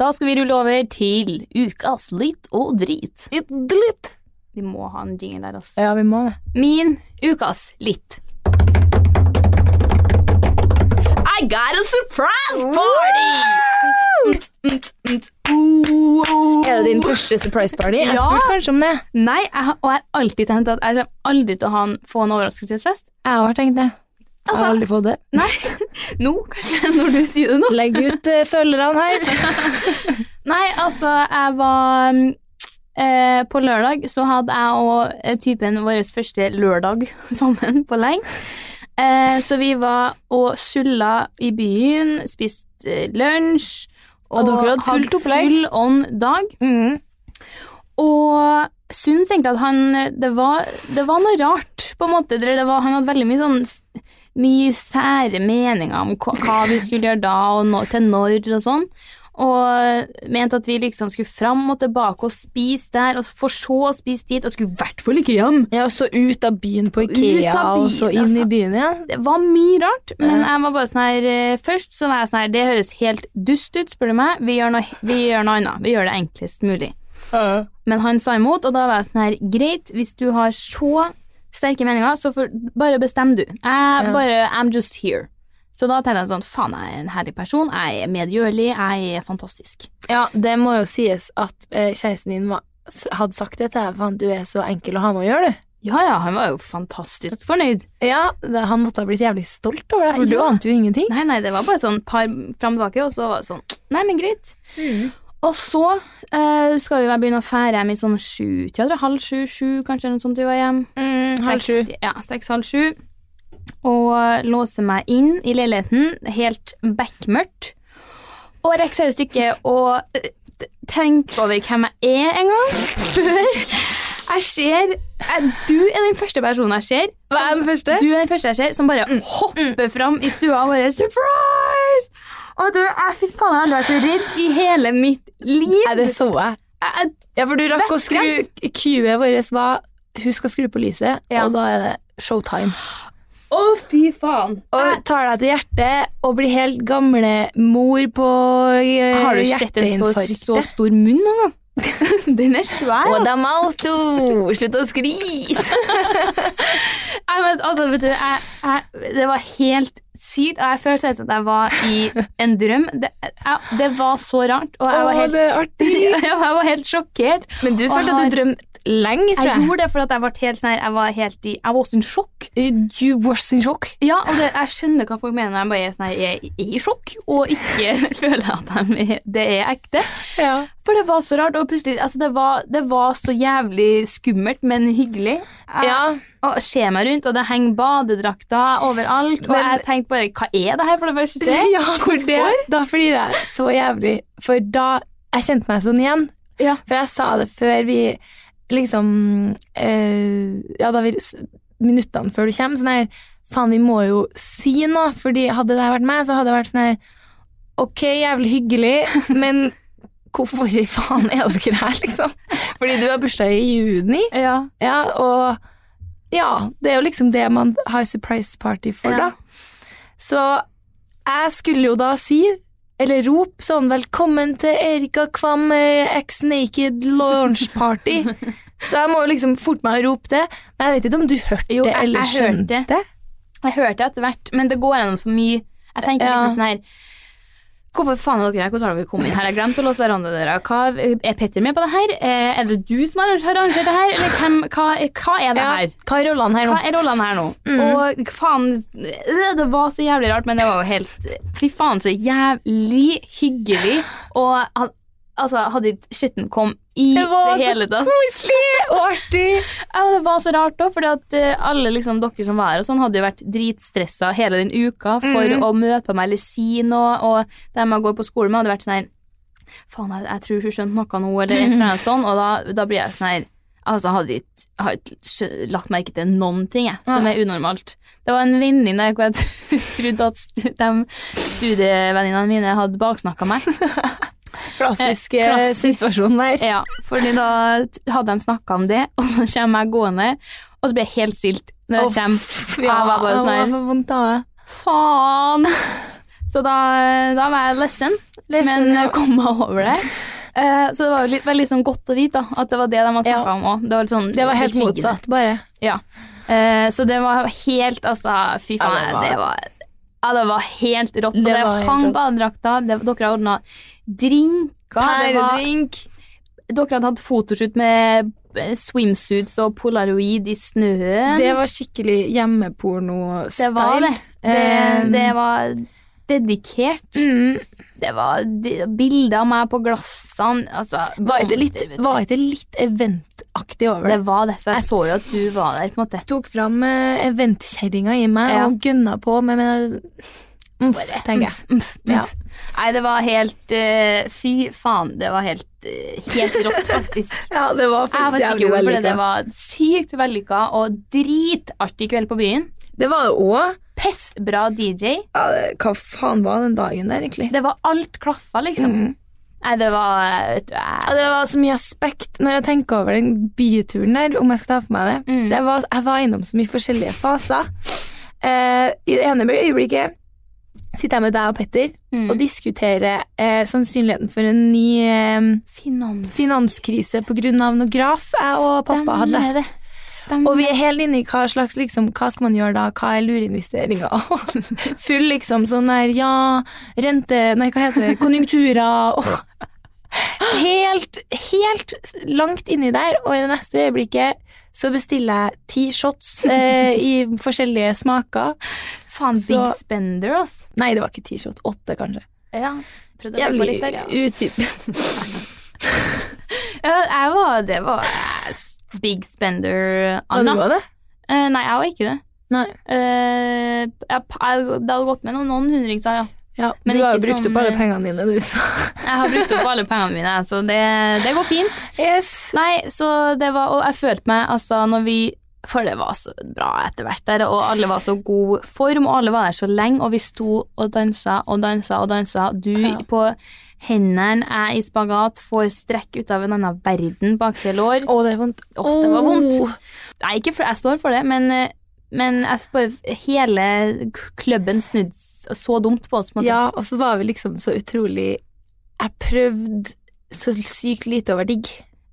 [SPEAKER 2] Da skal vi rulle over til ukas litt og drit. Vi må ha en jingle der, altså.
[SPEAKER 1] Ja, vi må det.
[SPEAKER 2] Min ukas litt.
[SPEAKER 1] I got a surprise party! Er det din første surprise party? Jeg
[SPEAKER 2] Ja.
[SPEAKER 1] spurte kanskje om det.
[SPEAKER 2] Nei, jeg har, og jeg har alltid tenkt at jeg kommer aldri til å ha en, få en overraskelsesfest.
[SPEAKER 1] Jeg har tenkt det. Jeg har
[SPEAKER 2] Altså-
[SPEAKER 1] aldri fått det.
[SPEAKER 2] *laughs* Nei, nå kanskje, når du sier det nå.
[SPEAKER 1] Legg ut eh, følgerne her. *laughs*
[SPEAKER 2] Nei, altså, jeg var mm, eh, På lørdag så hadde jeg og eh, typen vår første lørdag *laughs* sammen på lenge. Eh, så vi var og sulla i byen, spiste eh, lunsj
[SPEAKER 1] Og dere hadde fullt opplegg?
[SPEAKER 2] full on dag.
[SPEAKER 1] Mm.
[SPEAKER 2] Og syns egentlig at han Det var, det var noe rart, på en måte. Eller Det var, han hadde veldig mye sånn s- mye sære meninger om hva, hva vi skulle gjøre da, og nå, til når og sånn. Og mente at vi liksom skulle fram og tilbake og spise der, og s- for så å spise dit, og skulle i hvert fall ikke hjem.
[SPEAKER 1] Ja, og så ut av byen på
[SPEAKER 2] Ut
[SPEAKER 1] Ikea,
[SPEAKER 2] av byen,
[SPEAKER 1] og så inn
[SPEAKER 2] altså.
[SPEAKER 1] i byen igjen.
[SPEAKER 2] Det var mye rart, men jeg var bare sånn her eh, Først så var jeg sånn her Det høres helt dust ut, spør du meg. Vi gjør noe, vi gjør noe annet. Vi gjør det enklest mulig. Men han sa imot, og da var jeg sånn her, greit, hvis du har så sterke meninger, så får, bare bestem du. Jeg bare, I'm just here. Så da tenkte jeg sånn, faen, jeg er en herlig person, jeg er medgjørlig, jeg er fantastisk.
[SPEAKER 1] Ja, det må jo sies at eh, kjæresten din var, s- hadde sagt det til deg. Faen, du er så enkel å ha med å gjøre, du.
[SPEAKER 2] Ja, ja, han var jo fantastisk fornøyd.
[SPEAKER 1] Ja, det, Han måtte ha blitt jævlig stolt over deg, for du
[SPEAKER 2] Ja.
[SPEAKER 1] ante jo ingenting.
[SPEAKER 2] Nei, nei, det var bare sånn par fram og tilbake, og så var det sånn, nei, men greit.
[SPEAKER 1] Mm.
[SPEAKER 2] Og så eh, skal vi vel begynne å fære hjem i sånn sju, jeg tror halv sju, sju, kanskje eller noe sånt vi var hjem.
[SPEAKER 1] Mm, halv sju.
[SPEAKER 2] Seks- Ja, seks, halv sju. Og låser meg inn i leiligheten, helt bekmørkt. Og rekker seriøst ikke å eh, t- tenke over hvem jeg er engang, før jeg ser jeg, Du er den første personen jeg ser.
[SPEAKER 1] Hva er den første?
[SPEAKER 2] Du er den første jeg ser som bare hopper fram i stua og bare Surprise! Og du, jeg, fy faen, jeg har aldri vært så redd i hele mitt liv.
[SPEAKER 1] Nei, det så jeg.
[SPEAKER 2] Jeg-
[SPEAKER 1] Eh, Ja, for du rakk å skru
[SPEAKER 2] Vettskremt.
[SPEAKER 1] Q-et vårt var Hun skal skru på lyset,
[SPEAKER 2] Ja.
[SPEAKER 1] og da er det showtime.
[SPEAKER 2] Å, fy faen.
[SPEAKER 1] Og tar deg til hjertet og blir helt gamlemor på eh,
[SPEAKER 2] Har du sett en stor, så stor munn noen gang? Den er svær.
[SPEAKER 1] What
[SPEAKER 2] altså.
[SPEAKER 1] a mouth to! Slutt å skrike! *laughs*
[SPEAKER 2] Nei, men, altså, vet du, jeg, jeg, det var helt sykt, og jeg følte seg som at jeg var i en drøm. Det, jeg, det var så rart, og jeg var helt,
[SPEAKER 1] det er artig!
[SPEAKER 2] *laughs* jeg var helt sjokkert.
[SPEAKER 1] Men du
[SPEAKER 2] Og
[SPEAKER 1] følte at
[SPEAKER 2] har-
[SPEAKER 1] du drømte lenge, tror
[SPEAKER 2] Jeg
[SPEAKER 1] jeg.
[SPEAKER 2] gjorde det fordi at jeg ble helt sånn her, jeg var helt i Jeg var også i sjokk.
[SPEAKER 1] You was in shock.
[SPEAKER 2] Ja, og det, jeg skjønner hva folk mener. Jeg bare er sånn her, jeg er i sjokk, og ikke *laughs* føler at de er, det er ekte.
[SPEAKER 1] Ja.
[SPEAKER 2] For det var så rart, og plutselig altså det, var, det var så jævlig skummelt, men hyggelig. Jeg,
[SPEAKER 1] Ja.
[SPEAKER 2] Og jeg ser meg rundt, og det henger badedrakter overalt. Og
[SPEAKER 1] Men-
[SPEAKER 2] jeg tenkte bare Hva er det her, for det første?
[SPEAKER 1] *laughs* Ja, hvorfor? Da flirer jeg så jævlig, for da jeg kjente meg sånn igjen.
[SPEAKER 2] Ja.
[SPEAKER 1] For jeg sa det før vi liksom eh, Ja, da vi s- Minuttene før du kommer. Sånn her Faen, vi må jo si noe, Fordi hadde det her vært meg, så hadde det vært sånn her Ok, jævlig hyggelig, men hvorfor i faen er dere her, liksom? Fordi du har bursdag i juni,
[SPEAKER 2] Ja.
[SPEAKER 1] ja, og ja, det er jo liksom det man har surprise party for,
[SPEAKER 2] Ja.
[SPEAKER 1] da. Så jeg skulle jo da si, eller rope sånn 'Velkommen til Erika Kvam eh, X Naked Launch
[SPEAKER 2] *laughs*
[SPEAKER 1] Party'. Så jeg må jo liksom forte meg å rope det. Men jeg vet ikke om du hørte
[SPEAKER 2] Jo,
[SPEAKER 1] det,
[SPEAKER 2] jeg-
[SPEAKER 1] eller
[SPEAKER 2] jeg hørte
[SPEAKER 1] skjønte
[SPEAKER 2] det. Jeg hørte det etter hvert, men det går gjennom så mye. Jeg tenker
[SPEAKER 1] Ja.
[SPEAKER 2] liksom sånn her Hvorfor faen er dere her? Hvordan har dere kommet inn her? Jeg glemte å låse verandadøra. Hva- Er Petter med på det her? Eh, Er det du som har arrangert det her? Eller hvem, hva, hva er det
[SPEAKER 1] Ja, Mm.
[SPEAKER 2] her?
[SPEAKER 1] hva er rollene her nå?
[SPEAKER 2] Hva er rollene her nå? Og faen, øh, det var så jævlig rart, men det var jo helt Fy faen, så jævlig hyggelig. Og han, altså, hadde ikke skitten kom i det, hele tatt.
[SPEAKER 1] koselig og artig.
[SPEAKER 2] Ja, men det var så rart òg, for alle liksom, dere som var her, og sånn, hadde jo vært dritstressa hele den uka for å møte på meg eller si noe, og dem jeg går på skole med, hadde vært sånn her Faen, jeg, jeg tror hun skjønte noe nå, eller et eller annet sånn, og da, da blir jeg sånn her Altså, jeg hadde ikke, har ikke skjø- lagt merke til noen ting, jeg, som er unormalt. Det var en vending der hvor jeg *laughs* trodde at stu- de studievenninnene mine hadde baksnakka meg.
[SPEAKER 1] Klassisk
[SPEAKER 2] Eh,
[SPEAKER 1] eh,
[SPEAKER 2] klassisk.
[SPEAKER 1] situasjon der.
[SPEAKER 2] *laughs* Ja, fordi da t- hadde de snakka om det, og så kommer jeg gående, og så blir jeg helt stilt når jeg
[SPEAKER 1] Å,
[SPEAKER 2] kommer. Jeg var bare sånn her,
[SPEAKER 1] for vondt av det.
[SPEAKER 2] faen! *laughs* Så da, da var jeg lessen,
[SPEAKER 1] Lessen,
[SPEAKER 2] men
[SPEAKER 1] ja.
[SPEAKER 2] jeg kom meg over det. Eh, så det var jo litt, veldig sånn godt å vite da, at det var det de hadde
[SPEAKER 1] Ja.
[SPEAKER 2] snakka om òg. Det var, litt sånn,
[SPEAKER 1] Det var helt
[SPEAKER 2] betryggende.
[SPEAKER 1] motsatt, bare.
[SPEAKER 2] Ja. Eh, så det var helt Altså, fy faen.
[SPEAKER 1] Ja, det
[SPEAKER 2] det,
[SPEAKER 1] var-
[SPEAKER 2] var, det, var, ja, det var helt rått. Og
[SPEAKER 1] Det
[SPEAKER 2] det,
[SPEAKER 1] var helt
[SPEAKER 2] hang
[SPEAKER 1] rått.
[SPEAKER 2] badedrakter. det- Dere har ordna drinker. det var-
[SPEAKER 1] Pæredrink.
[SPEAKER 2] dere hadde hatt fotoshoot med eh, swimsuits og polaroid i snøen.
[SPEAKER 1] Det var skikkelig hjemmeporno-style.
[SPEAKER 2] Det var det.
[SPEAKER 1] Eh,
[SPEAKER 2] Det, det var dedikert.
[SPEAKER 1] Mm,
[SPEAKER 2] Det var de- bilder av meg på glassene. Altså,
[SPEAKER 1] var ikke litt,
[SPEAKER 2] blomster, vet du.
[SPEAKER 1] var ikke litt eventaktig over det?
[SPEAKER 2] det var det, så jeg så jo at du var der, på en måte.
[SPEAKER 1] Tok fram eh, eventkjerringa i meg
[SPEAKER 2] Ja.
[SPEAKER 1] og gønna på med, med Umf, tenker jeg.
[SPEAKER 2] Umf, umf.
[SPEAKER 1] Ja.
[SPEAKER 2] Mm. Nei, det var helt eh, Fy faen, det var helt, eh, helt
[SPEAKER 1] *laughs*
[SPEAKER 2] rått, faktisk.
[SPEAKER 1] Ja, det var
[SPEAKER 2] Jeg vet ikke hvorfor, det, det var sykt vellykka og dritartig kveld på byen.
[SPEAKER 1] Det var det òg.
[SPEAKER 2] Pissbra DJ.
[SPEAKER 1] Ja, det- hva faen var den dagen der, egentlig?
[SPEAKER 2] Det var alt klaffa, liksom. Nei, det var vet du, eh, jeg-
[SPEAKER 1] Mhm. Ja, det var så mye aspekt når jeg tenker over den byturen der, om jeg skal ta for meg det. det var, jeg var innom så mye forskjellige faser. Eh, I det ene øyeblikket sitter jeg med deg og Petter og diskuterer eh, sannsynligheten for en ny eh,
[SPEAKER 2] Finans.
[SPEAKER 1] finanskrise pga. noe graf jeg og pappa hadde
[SPEAKER 2] Stemmer
[SPEAKER 1] lest.
[SPEAKER 2] det. Stemmer.
[SPEAKER 1] Og vi er helt inne i hva slags liksom, Hva skal man gjøre da? Hva er lurinvesteringer? *laughs* Full liksom sånn der Ja, rente Nei, hva heter det? Konjunkturer og Helt, helt langt inni der, og i det neste øyeblikket så bestiller jeg ti shots eh, i forskjellige smaker.
[SPEAKER 2] Faen, big
[SPEAKER 1] så-
[SPEAKER 2] spender, ass.
[SPEAKER 1] Nei, det var ikke ti shots. Åtte, kanskje.
[SPEAKER 2] Ja. Prøvde å legge på
[SPEAKER 1] Jævlig
[SPEAKER 2] litt der, ja.
[SPEAKER 1] utyp.
[SPEAKER 2] ja. Jeg var Det var eh, big spender,
[SPEAKER 1] Hva
[SPEAKER 2] Anna.
[SPEAKER 1] var det?
[SPEAKER 2] Eh, nei, jeg var ikke det.
[SPEAKER 1] Nei.
[SPEAKER 2] Eh, jeg, jeg, det hadde gått med noen, noen hundrings, da, ja.
[SPEAKER 1] Ja,
[SPEAKER 2] Men
[SPEAKER 1] du har jo
[SPEAKER 2] ikke
[SPEAKER 1] brukt
[SPEAKER 2] som,
[SPEAKER 1] opp alle
[SPEAKER 2] eh,
[SPEAKER 1] pengene dine, du, så.
[SPEAKER 2] Jeg har brukt opp alle pengene mine, så det, det går fint.
[SPEAKER 1] Yes.
[SPEAKER 2] Nei, så det var Og jeg følte meg altså når vi For det var så bra etter hvert der, og alle var så god form, og alle var der så lenge, og vi sto og dansa og dansa og dansa. Du på hendene, jeg i spagat, får strekk ut av en annen verden baksida lår.
[SPEAKER 1] Å, det er vondt.
[SPEAKER 2] Åh, det var
[SPEAKER 1] Åh.
[SPEAKER 2] vondt. Nei, ikke for, jeg står for det, men, eh, men jeg bare, hele k- klubben snudde s- så dumt på oss. på en måte. *laughs*
[SPEAKER 1] Ja, og så var vi liksom så utrolig Jeg prøvde så sykt lite å være digg.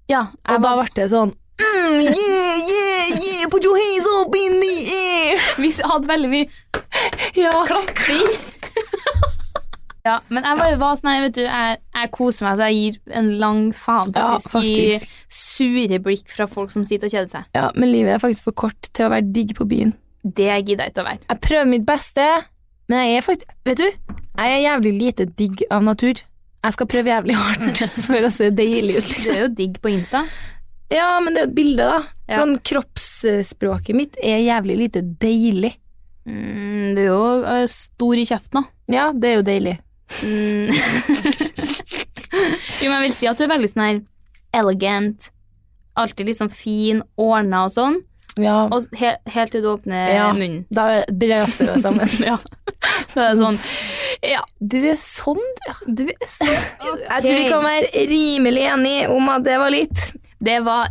[SPEAKER 2] ja
[SPEAKER 1] Og
[SPEAKER 2] jeg
[SPEAKER 1] da
[SPEAKER 2] var,
[SPEAKER 1] ble det sånn mm, Yeah, yeah, yeah, put your hands up in the air.
[SPEAKER 2] vi hadde veldig mye
[SPEAKER 1] Ja.
[SPEAKER 2] klapping. Ja, men jeg var, var sånn her, vet du, jeg, jeg koser meg, så jeg gir en lang faen
[SPEAKER 1] Ja,
[SPEAKER 2] faktisk, i sure blikk fra folk som sitter og kjeder seg.
[SPEAKER 1] Ja, men livet er faktisk for kort til å være digg på byen.
[SPEAKER 2] Det gidder jeg ikke å være.
[SPEAKER 1] Jeg prøver mitt beste, men jeg er faktisk Vet du, jeg er jævlig lite digg av natur. Jeg skal prøve jævlig hardt *laughs* for å se deilig ut,
[SPEAKER 2] Du
[SPEAKER 1] liksom.
[SPEAKER 2] er jo digg på Insta.
[SPEAKER 1] Ja, men det er jo et bilde, da.
[SPEAKER 2] Ja.
[SPEAKER 1] Sånn kroppsspråket mitt er jævlig lite deilig.
[SPEAKER 2] Mm, du er jo eh, stor i kjeften, da.
[SPEAKER 1] Ja, det er jo deilig.
[SPEAKER 2] Mm. *laughs* jo, men jeg vil si at du er veldig sånn her elegant, alltid liksom fin, ordna og sånn,
[SPEAKER 1] Ja,
[SPEAKER 2] og he helt til du åpner
[SPEAKER 1] Ja.
[SPEAKER 2] munnen.
[SPEAKER 1] da braser det sammen. *laughs*
[SPEAKER 2] Ja. Så er det sånn, ja,
[SPEAKER 1] Du er sånn, du, ja.
[SPEAKER 2] du er sånn.
[SPEAKER 1] Jeg tror vi kan være rimelig enige om at det var litt.
[SPEAKER 2] Det var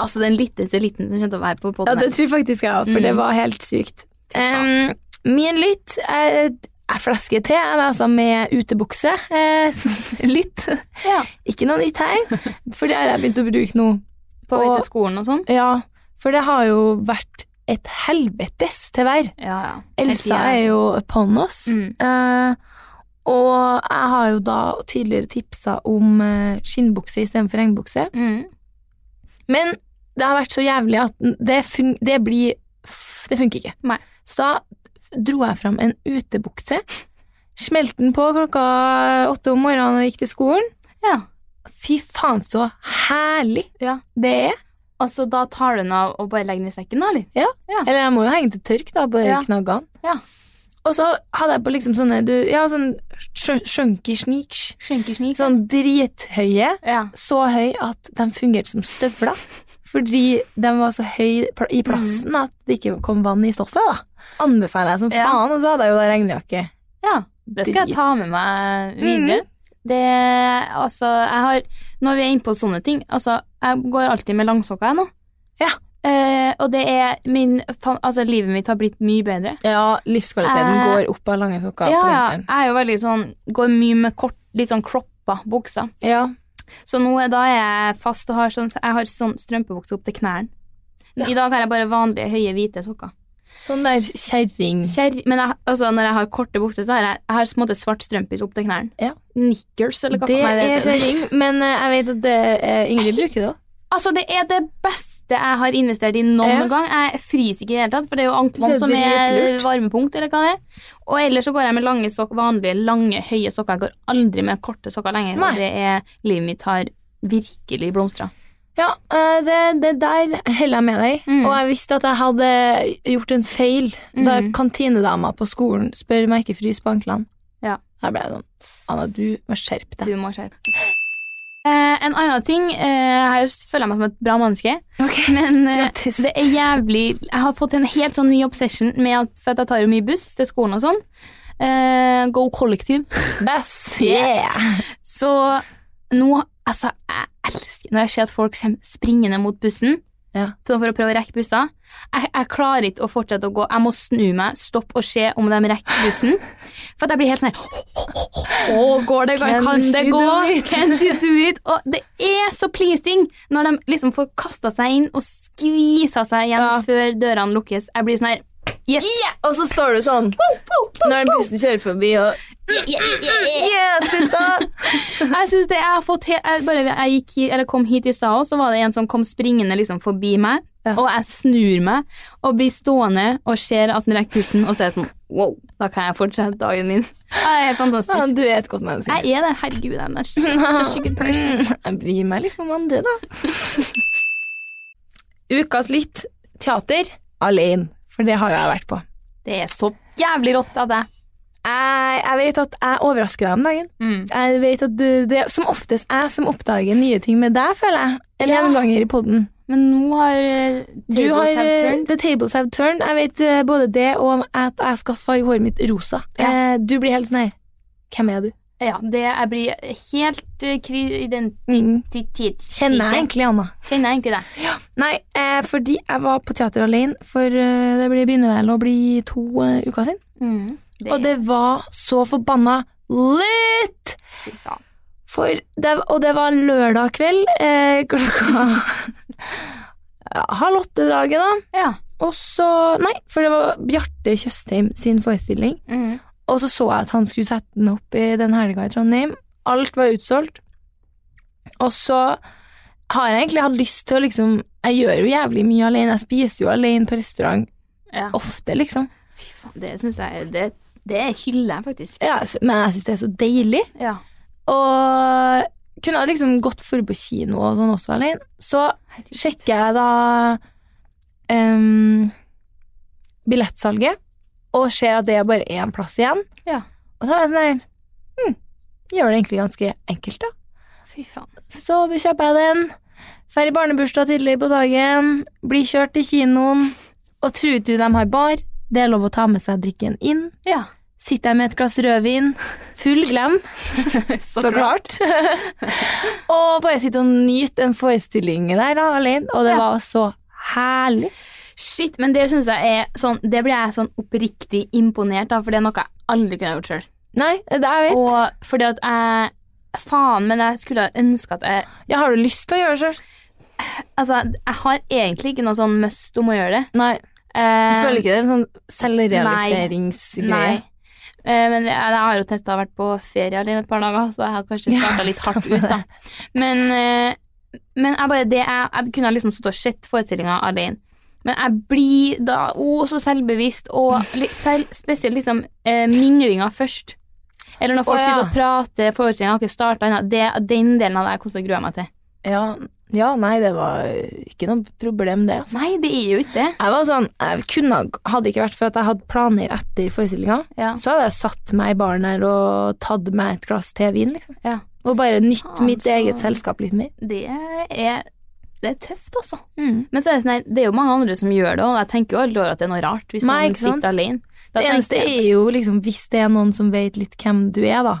[SPEAKER 2] altså den litteste liten som kjente å være på
[SPEAKER 1] Ja,
[SPEAKER 2] podden.
[SPEAKER 1] det tror jeg faktisk jeg òg, for det var helt sykt. Um, min lytt er jeg flasker te, jeg, altså med utebukse. Eh, *laughs* så- litt.
[SPEAKER 2] Ja.
[SPEAKER 1] Ikke noe nytt her, for det har jeg begynt å bruke nå.
[SPEAKER 2] på vei
[SPEAKER 1] og-
[SPEAKER 2] til skolen og sånn.
[SPEAKER 1] Ja, for det har jo vært et helvetes til vær.
[SPEAKER 2] Ja, ja.
[SPEAKER 1] Elsa er jo upon oss.
[SPEAKER 2] Mm.
[SPEAKER 1] Eh, og jeg har jo da tidligere tipsa om eh, skinnbukse istedenfor regnbukse.
[SPEAKER 2] mm.
[SPEAKER 1] Men det har vært så jævlig at det, fun det blir f- Det funker ikke.
[SPEAKER 2] Nei.
[SPEAKER 1] Så da f- dro jeg fram en utebukse, smelte den på klokka åtte om morgenen og gikk til skolen.
[SPEAKER 2] ja.
[SPEAKER 1] Fy faen, så herlig
[SPEAKER 2] Ja.
[SPEAKER 1] det er.
[SPEAKER 2] Altså, da tar du den av og bare legger den i sekken, da, eller? Ja.
[SPEAKER 1] Eller jeg må jo henge til tørk da, på
[SPEAKER 2] Ja.
[SPEAKER 1] knaggene.
[SPEAKER 2] Ja.
[SPEAKER 1] Og så hadde jeg på liksom sånne du, Ja, sånn sjø- sjunky sneaks.
[SPEAKER 2] Skjenkesnik.
[SPEAKER 1] Sånn drithøye.
[SPEAKER 2] Ja.
[SPEAKER 1] så høy at de fungerte som støvler. Fordi de var så høy pla- i plassen at det ikke kom vann i stoffet. da. Anbefaler jeg som
[SPEAKER 2] Ja.
[SPEAKER 1] faen, og så hadde jeg jo da regnjakke.
[SPEAKER 2] ja. Det Mm. skal jeg ta med meg videre. Det Altså, jeg har Når vi er inne på sånne ting Altså, jeg går alltid med langsokker, jeg nå.
[SPEAKER 1] Ja.
[SPEAKER 2] Eh, og det er min fan, Altså, livet mitt har blitt mye bedre.
[SPEAKER 1] Ja, livskvaliteten
[SPEAKER 2] Eh,
[SPEAKER 1] går opp av lange sokker
[SPEAKER 2] ja,
[SPEAKER 1] på
[SPEAKER 2] ja.
[SPEAKER 1] vinteren.
[SPEAKER 2] Jeg er jo veldig sånn Går mye med kort, litt sånn croppa bukser.
[SPEAKER 1] Ja.
[SPEAKER 2] Så nå er da er jeg fast og har sånn, jeg har sånn strømpebukse opp til knærne. I dag har jeg bare vanlige høye, hvite sokker.
[SPEAKER 1] Sånn der kjerring.
[SPEAKER 2] Kjerr- men jeg, altså, når jeg har korte bukser, så har jeg, jeg har på en måte svart strømpis opp til knærne.
[SPEAKER 1] Ja.
[SPEAKER 2] Nikkers, eller hva
[SPEAKER 1] Det
[SPEAKER 2] faen jeg
[SPEAKER 1] er
[SPEAKER 2] heter.
[SPEAKER 1] kjerring, men eh, jeg vet at det, eh, Ingrid bruker det òg.
[SPEAKER 2] Altså, det er det beste jeg har investert i noen
[SPEAKER 1] Ja.
[SPEAKER 2] gang. Jeg fryser ikke i det hele tatt, for det er jo
[SPEAKER 1] Det
[SPEAKER 2] anklene
[SPEAKER 1] er
[SPEAKER 2] som er
[SPEAKER 1] dritlurt.
[SPEAKER 2] varmepunkt, eller hva det er. Og ellers så går jeg med lange sok vanlige, lange, høye sokker. Jeg går aldri med korte sokker lenger.
[SPEAKER 1] Nei.
[SPEAKER 2] Og det er, livet mitt har virkelig blomstra.
[SPEAKER 1] Ja, eh, det, det der heller jeg med deg i.
[SPEAKER 2] Mm.
[SPEAKER 1] Og jeg visste at jeg hadde gjort en feil da
[SPEAKER 2] Mhm.
[SPEAKER 1] kantinedama på skolen spør om jeg ikke fryser på anklene.
[SPEAKER 2] Ja.
[SPEAKER 1] Her ble jeg sånn Anna, du må skjerpe deg.
[SPEAKER 2] Du må skjerpe deg. Eh, en annen ting eh, Her føler jeg meg som et bra menneske. *laughs* Men eh,
[SPEAKER 1] Grattis.
[SPEAKER 2] det er jævlig Jeg har fått en helt sånn ny obsession med at, for at jeg tar jo mye buss til skolen og sånn. Eh, go kollektiv. *laughs*
[SPEAKER 1] Best, yeah!
[SPEAKER 2] Så nå Altså, jeg elsker når jeg ser at folk kommer springende mot bussen
[SPEAKER 1] Ja.
[SPEAKER 2] sånn for å prøve å rekke busser. Jeg, jeg klarer ikke å fortsette å gå. Jeg må snu meg, stoppe og se om de rekker bussen.
[SPEAKER 1] *laughs*
[SPEAKER 2] For at jeg blir helt sånn her Å, går det? Kan,
[SPEAKER 1] Can
[SPEAKER 2] kan det
[SPEAKER 1] she
[SPEAKER 2] gå?
[SPEAKER 1] do
[SPEAKER 2] *laughs*
[SPEAKER 1] it?
[SPEAKER 2] Can she do it? Og det er så pleasing når de liksom får kasta seg inn og skvisa seg igjen
[SPEAKER 1] Ja.
[SPEAKER 2] før dørene lukkes. Jeg blir sånn her Yes!
[SPEAKER 1] Og så står du sånn når bussen kjører forbi og Yes, it's
[SPEAKER 2] *laughs*
[SPEAKER 1] up!
[SPEAKER 2] Jeg synes det jeg har fått he- jeg, Bare jeg gikk hit, eller kom hit i stad, også, så var det en som kom springende liksom forbi meg.
[SPEAKER 1] Ja.
[SPEAKER 2] Og jeg snur meg og blir stående og ser at den rekker pusten, og så er jeg sånn Wow, da kan jeg fortsette dagen min. Det er helt
[SPEAKER 1] Ja,
[SPEAKER 2] fantastisk.
[SPEAKER 1] du er et godt menneske.
[SPEAKER 2] Jeg er det. Herregud,
[SPEAKER 1] *laughs*
[SPEAKER 2] I'm a such a good person.
[SPEAKER 1] Jeg bryr meg liksom om andre, da. *laughs* Ukas litt teater alene, for det har jo jeg vært på.
[SPEAKER 2] Det er så jævlig rått av deg.
[SPEAKER 1] Jeg, jeg vet at jeg overrasker deg om dagen.
[SPEAKER 2] Mm.
[SPEAKER 1] Jeg vet at det, det er som oftest jeg som oppdager nye ting med deg, føler jeg. En
[SPEAKER 2] Ja.
[SPEAKER 1] gjenganger i podden.
[SPEAKER 2] Men nå har eh,
[SPEAKER 1] Du
[SPEAKER 2] tables
[SPEAKER 1] har
[SPEAKER 2] have
[SPEAKER 1] eh,
[SPEAKER 2] turned.
[SPEAKER 1] The Tables Have Turned. Jeg vet eh, både det og at jeg skal farge håret mitt rosa. Eh,
[SPEAKER 2] Ja.
[SPEAKER 1] Du blir helt sånn her Hvem er du?
[SPEAKER 2] Ja, det jeg blir helt eh, kri identitet...
[SPEAKER 1] Kjenner jeg egentlig Anna?
[SPEAKER 2] Kjenner jeg egentlig deg.
[SPEAKER 1] Nei, eh, fordi jeg var på teater alene, for eh, det blir- begynner vel å bli to eh, uker siden.
[SPEAKER 2] Mm. Det,
[SPEAKER 1] Og det var så forbanna litt!
[SPEAKER 2] Fy faen.
[SPEAKER 1] For det, og det var lørdag kveld eh, klokka ja, halv åtte-draget, da.
[SPEAKER 2] Ja.
[SPEAKER 1] Og så Nei, for det var Bjarte Tjøstheim sin forestilling.
[SPEAKER 2] Mm.
[SPEAKER 1] Og så så jeg at han skulle sette den opp i den helga i Trondheim. Alt var utsolgt. Og så har jeg egentlig hatt lyst til å liksom Jeg gjør jo jævlig mye alene. Jeg spiser jo alene på restaurant
[SPEAKER 2] Ja.
[SPEAKER 1] ofte, liksom.
[SPEAKER 2] Fy faen, det syns jeg Det, det hyller jeg faktisk.
[SPEAKER 1] Ja, s- men jeg syns det er så deilig.
[SPEAKER 2] Ja.
[SPEAKER 1] Og kunne ha liksom gått for på kino og sånn også alene. Så sjekker jeg da em, billettsalget, og ser at det er bare én plass igjen.
[SPEAKER 2] Ja.
[SPEAKER 1] Og da var jeg sånn her hm, Gjør det egentlig ganske enkelt, da.
[SPEAKER 2] Fy faen.
[SPEAKER 1] Så kjøper jeg den. Drar i barnebursdag tidlig på dagen. Blir kjørt til kinoen. Og tror du de har bar? Det er lov å ta med seg drikken inn.
[SPEAKER 2] Ja.
[SPEAKER 1] Sitter jeg med et glass rødvin, full
[SPEAKER 2] *laughs*
[SPEAKER 1] glem, så klart. *laughs* og bare sitte og nyte en forestilling der da, alene. Og det
[SPEAKER 2] Ja.
[SPEAKER 1] var så herlig.
[SPEAKER 2] Shit, men det syns jeg er sånn Det blir jeg sånn oppriktig imponert av, for det er noe jeg aldri kunne ha gjort sjøl.
[SPEAKER 1] Nei, det jeg vet.
[SPEAKER 2] Og fordi at jeg Faen, men jeg skulle ha ønska at jeg
[SPEAKER 1] ja, har du lyst til å gjøre det sjøl?
[SPEAKER 2] Altså, jeg har egentlig ikke noe sånn must om å gjøre det.
[SPEAKER 1] Nei. Du
[SPEAKER 2] Eh,
[SPEAKER 1] føler ikke det er en sånn
[SPEAKER 2] Nei.
[SPEAKER 1] selvrealiseringsgreie?
[SPEAKER 2] Eh, men jeg, jeg har jo testa å vært på ferie alene et par dager, så jeg har kanskje
[SPEAKER 1] Ja,
[SPEAKER 2] starta litt hardt
[SPEAKER 1] samme
[SPEAKER 2] ut, da. Men, eh, men jeg bare det jeg, jeg kunne ha liksom stått og sett forestillinga alene. Men jeg blir da å, så selvbevisst, og litt selv, spesielt liksom eh, minglinga først. Eller når
[SPEAKER 1] Å,
[SPEAKER 2] folk
[SPEAKER 1] ja.
[SPEAKER 2] sitter og prater, forestillinga har ikke starta ennå. Det- Den delen av det jeg koser og gruer meg til.
[SPEAKER 1] Ja, ja, nei, det var ikke noe problem, det. altså.
[SPEAKER 2] Nei, det er jo ikke det.
[SPEAKER 1] Jeg var sånn, jeg kunne, ha- hadde ikke vært for at jeg hadde planer etter forestillinga,
[SPEAKER 2] Ja.
[SPEAKER 1] så hadde jeg satt meg i baren her og tatt meg et glass til vin, liksom.
[SPEAKER 2] Ja.
[SPEAKER 1] Og bare nytt
[SPEAKER 2] Faen,
[SPEAKER 1] mitt
[SPEAKER 2] så-
[SPEAKER 1] eget selskap litt mer.
[SPEAKER 2] Det er, det er tøft, altså.
[SPEAKER 1] Mm.
[SPEAKER 2] Men så er det, sånn, her, det er jo mange andre som gjør det, og jeg tenker jo aldri over at det er noe rart hvis
[SPEAKER 1] Nei,
[SPEAKER 2] man
[SPEAKER 1] ikke sant?
[SPEAKER 2] sitter alene. Da
[SPEAKER 1] Det eneste
[SPEAKER 2] tenker jeg-
[SPEAKER 1] er jo liksom hvis det er noen som vet litt hvem du er, da.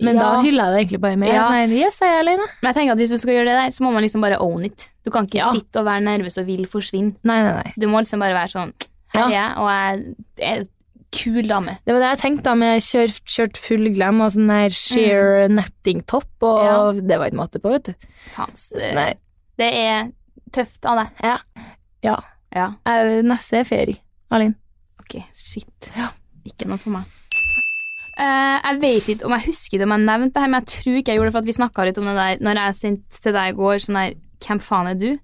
[SPEAKER 1] Men
[SPEAKER 2] Ja.
[SPEAKER 1] da hyller jeg det egentlig bare med.
[SPEAKER 2] Ja.
[SPEAKER 1] Sånn, her, yes, jeg er alene.
[SPEAKER 2] Men jeg tenker at hvis du skal gjøre det der, så må man liksom bare own it. Du kan ikke
[SPEAKER 1] Ja.
[SPEAKER 2] sitte og være nervøs og vil forsvinne.
[SPEAKER 1] Nei, nei, nei.
[SPEAKER 2] Du må liksom bare være sånn
[SPEAKER 1] Ja.
[SPEAKER 2] Her er jeg, og jeg er en kul dame.
[SPEAKER 1] Det var det jeg tenkte da med kjørt, kjørt full glem og sånn der sheer nettingtopp, og
[SPEAKER 2] Ja.
[SPEAKER 1] det var ikke måte på, vet du.
[SPEAKER 2] Faens.
[SPEAKER 1] Sånn der.
[SPEAKER 2] Eh, Det er tøft av deg.
[SPEAKER 1] Ja. Ja.
[SPEAKER 2] Ja.
[SPEAKER 1] Jeg- Neste er ferie, Alin.
[SPEAKER 2] Ok, shit.
[SPEAKER 1] Ja.
[SPEAKER 2] Ikke noe for meg. Eh, jeg vet ikke om jeg husker det om jeg nevnte det her, men jeg tror ikke jeg gjorde det, for at vi snakka litt om det der når jeg sendte til deg i går sånn der Hvem faen er du?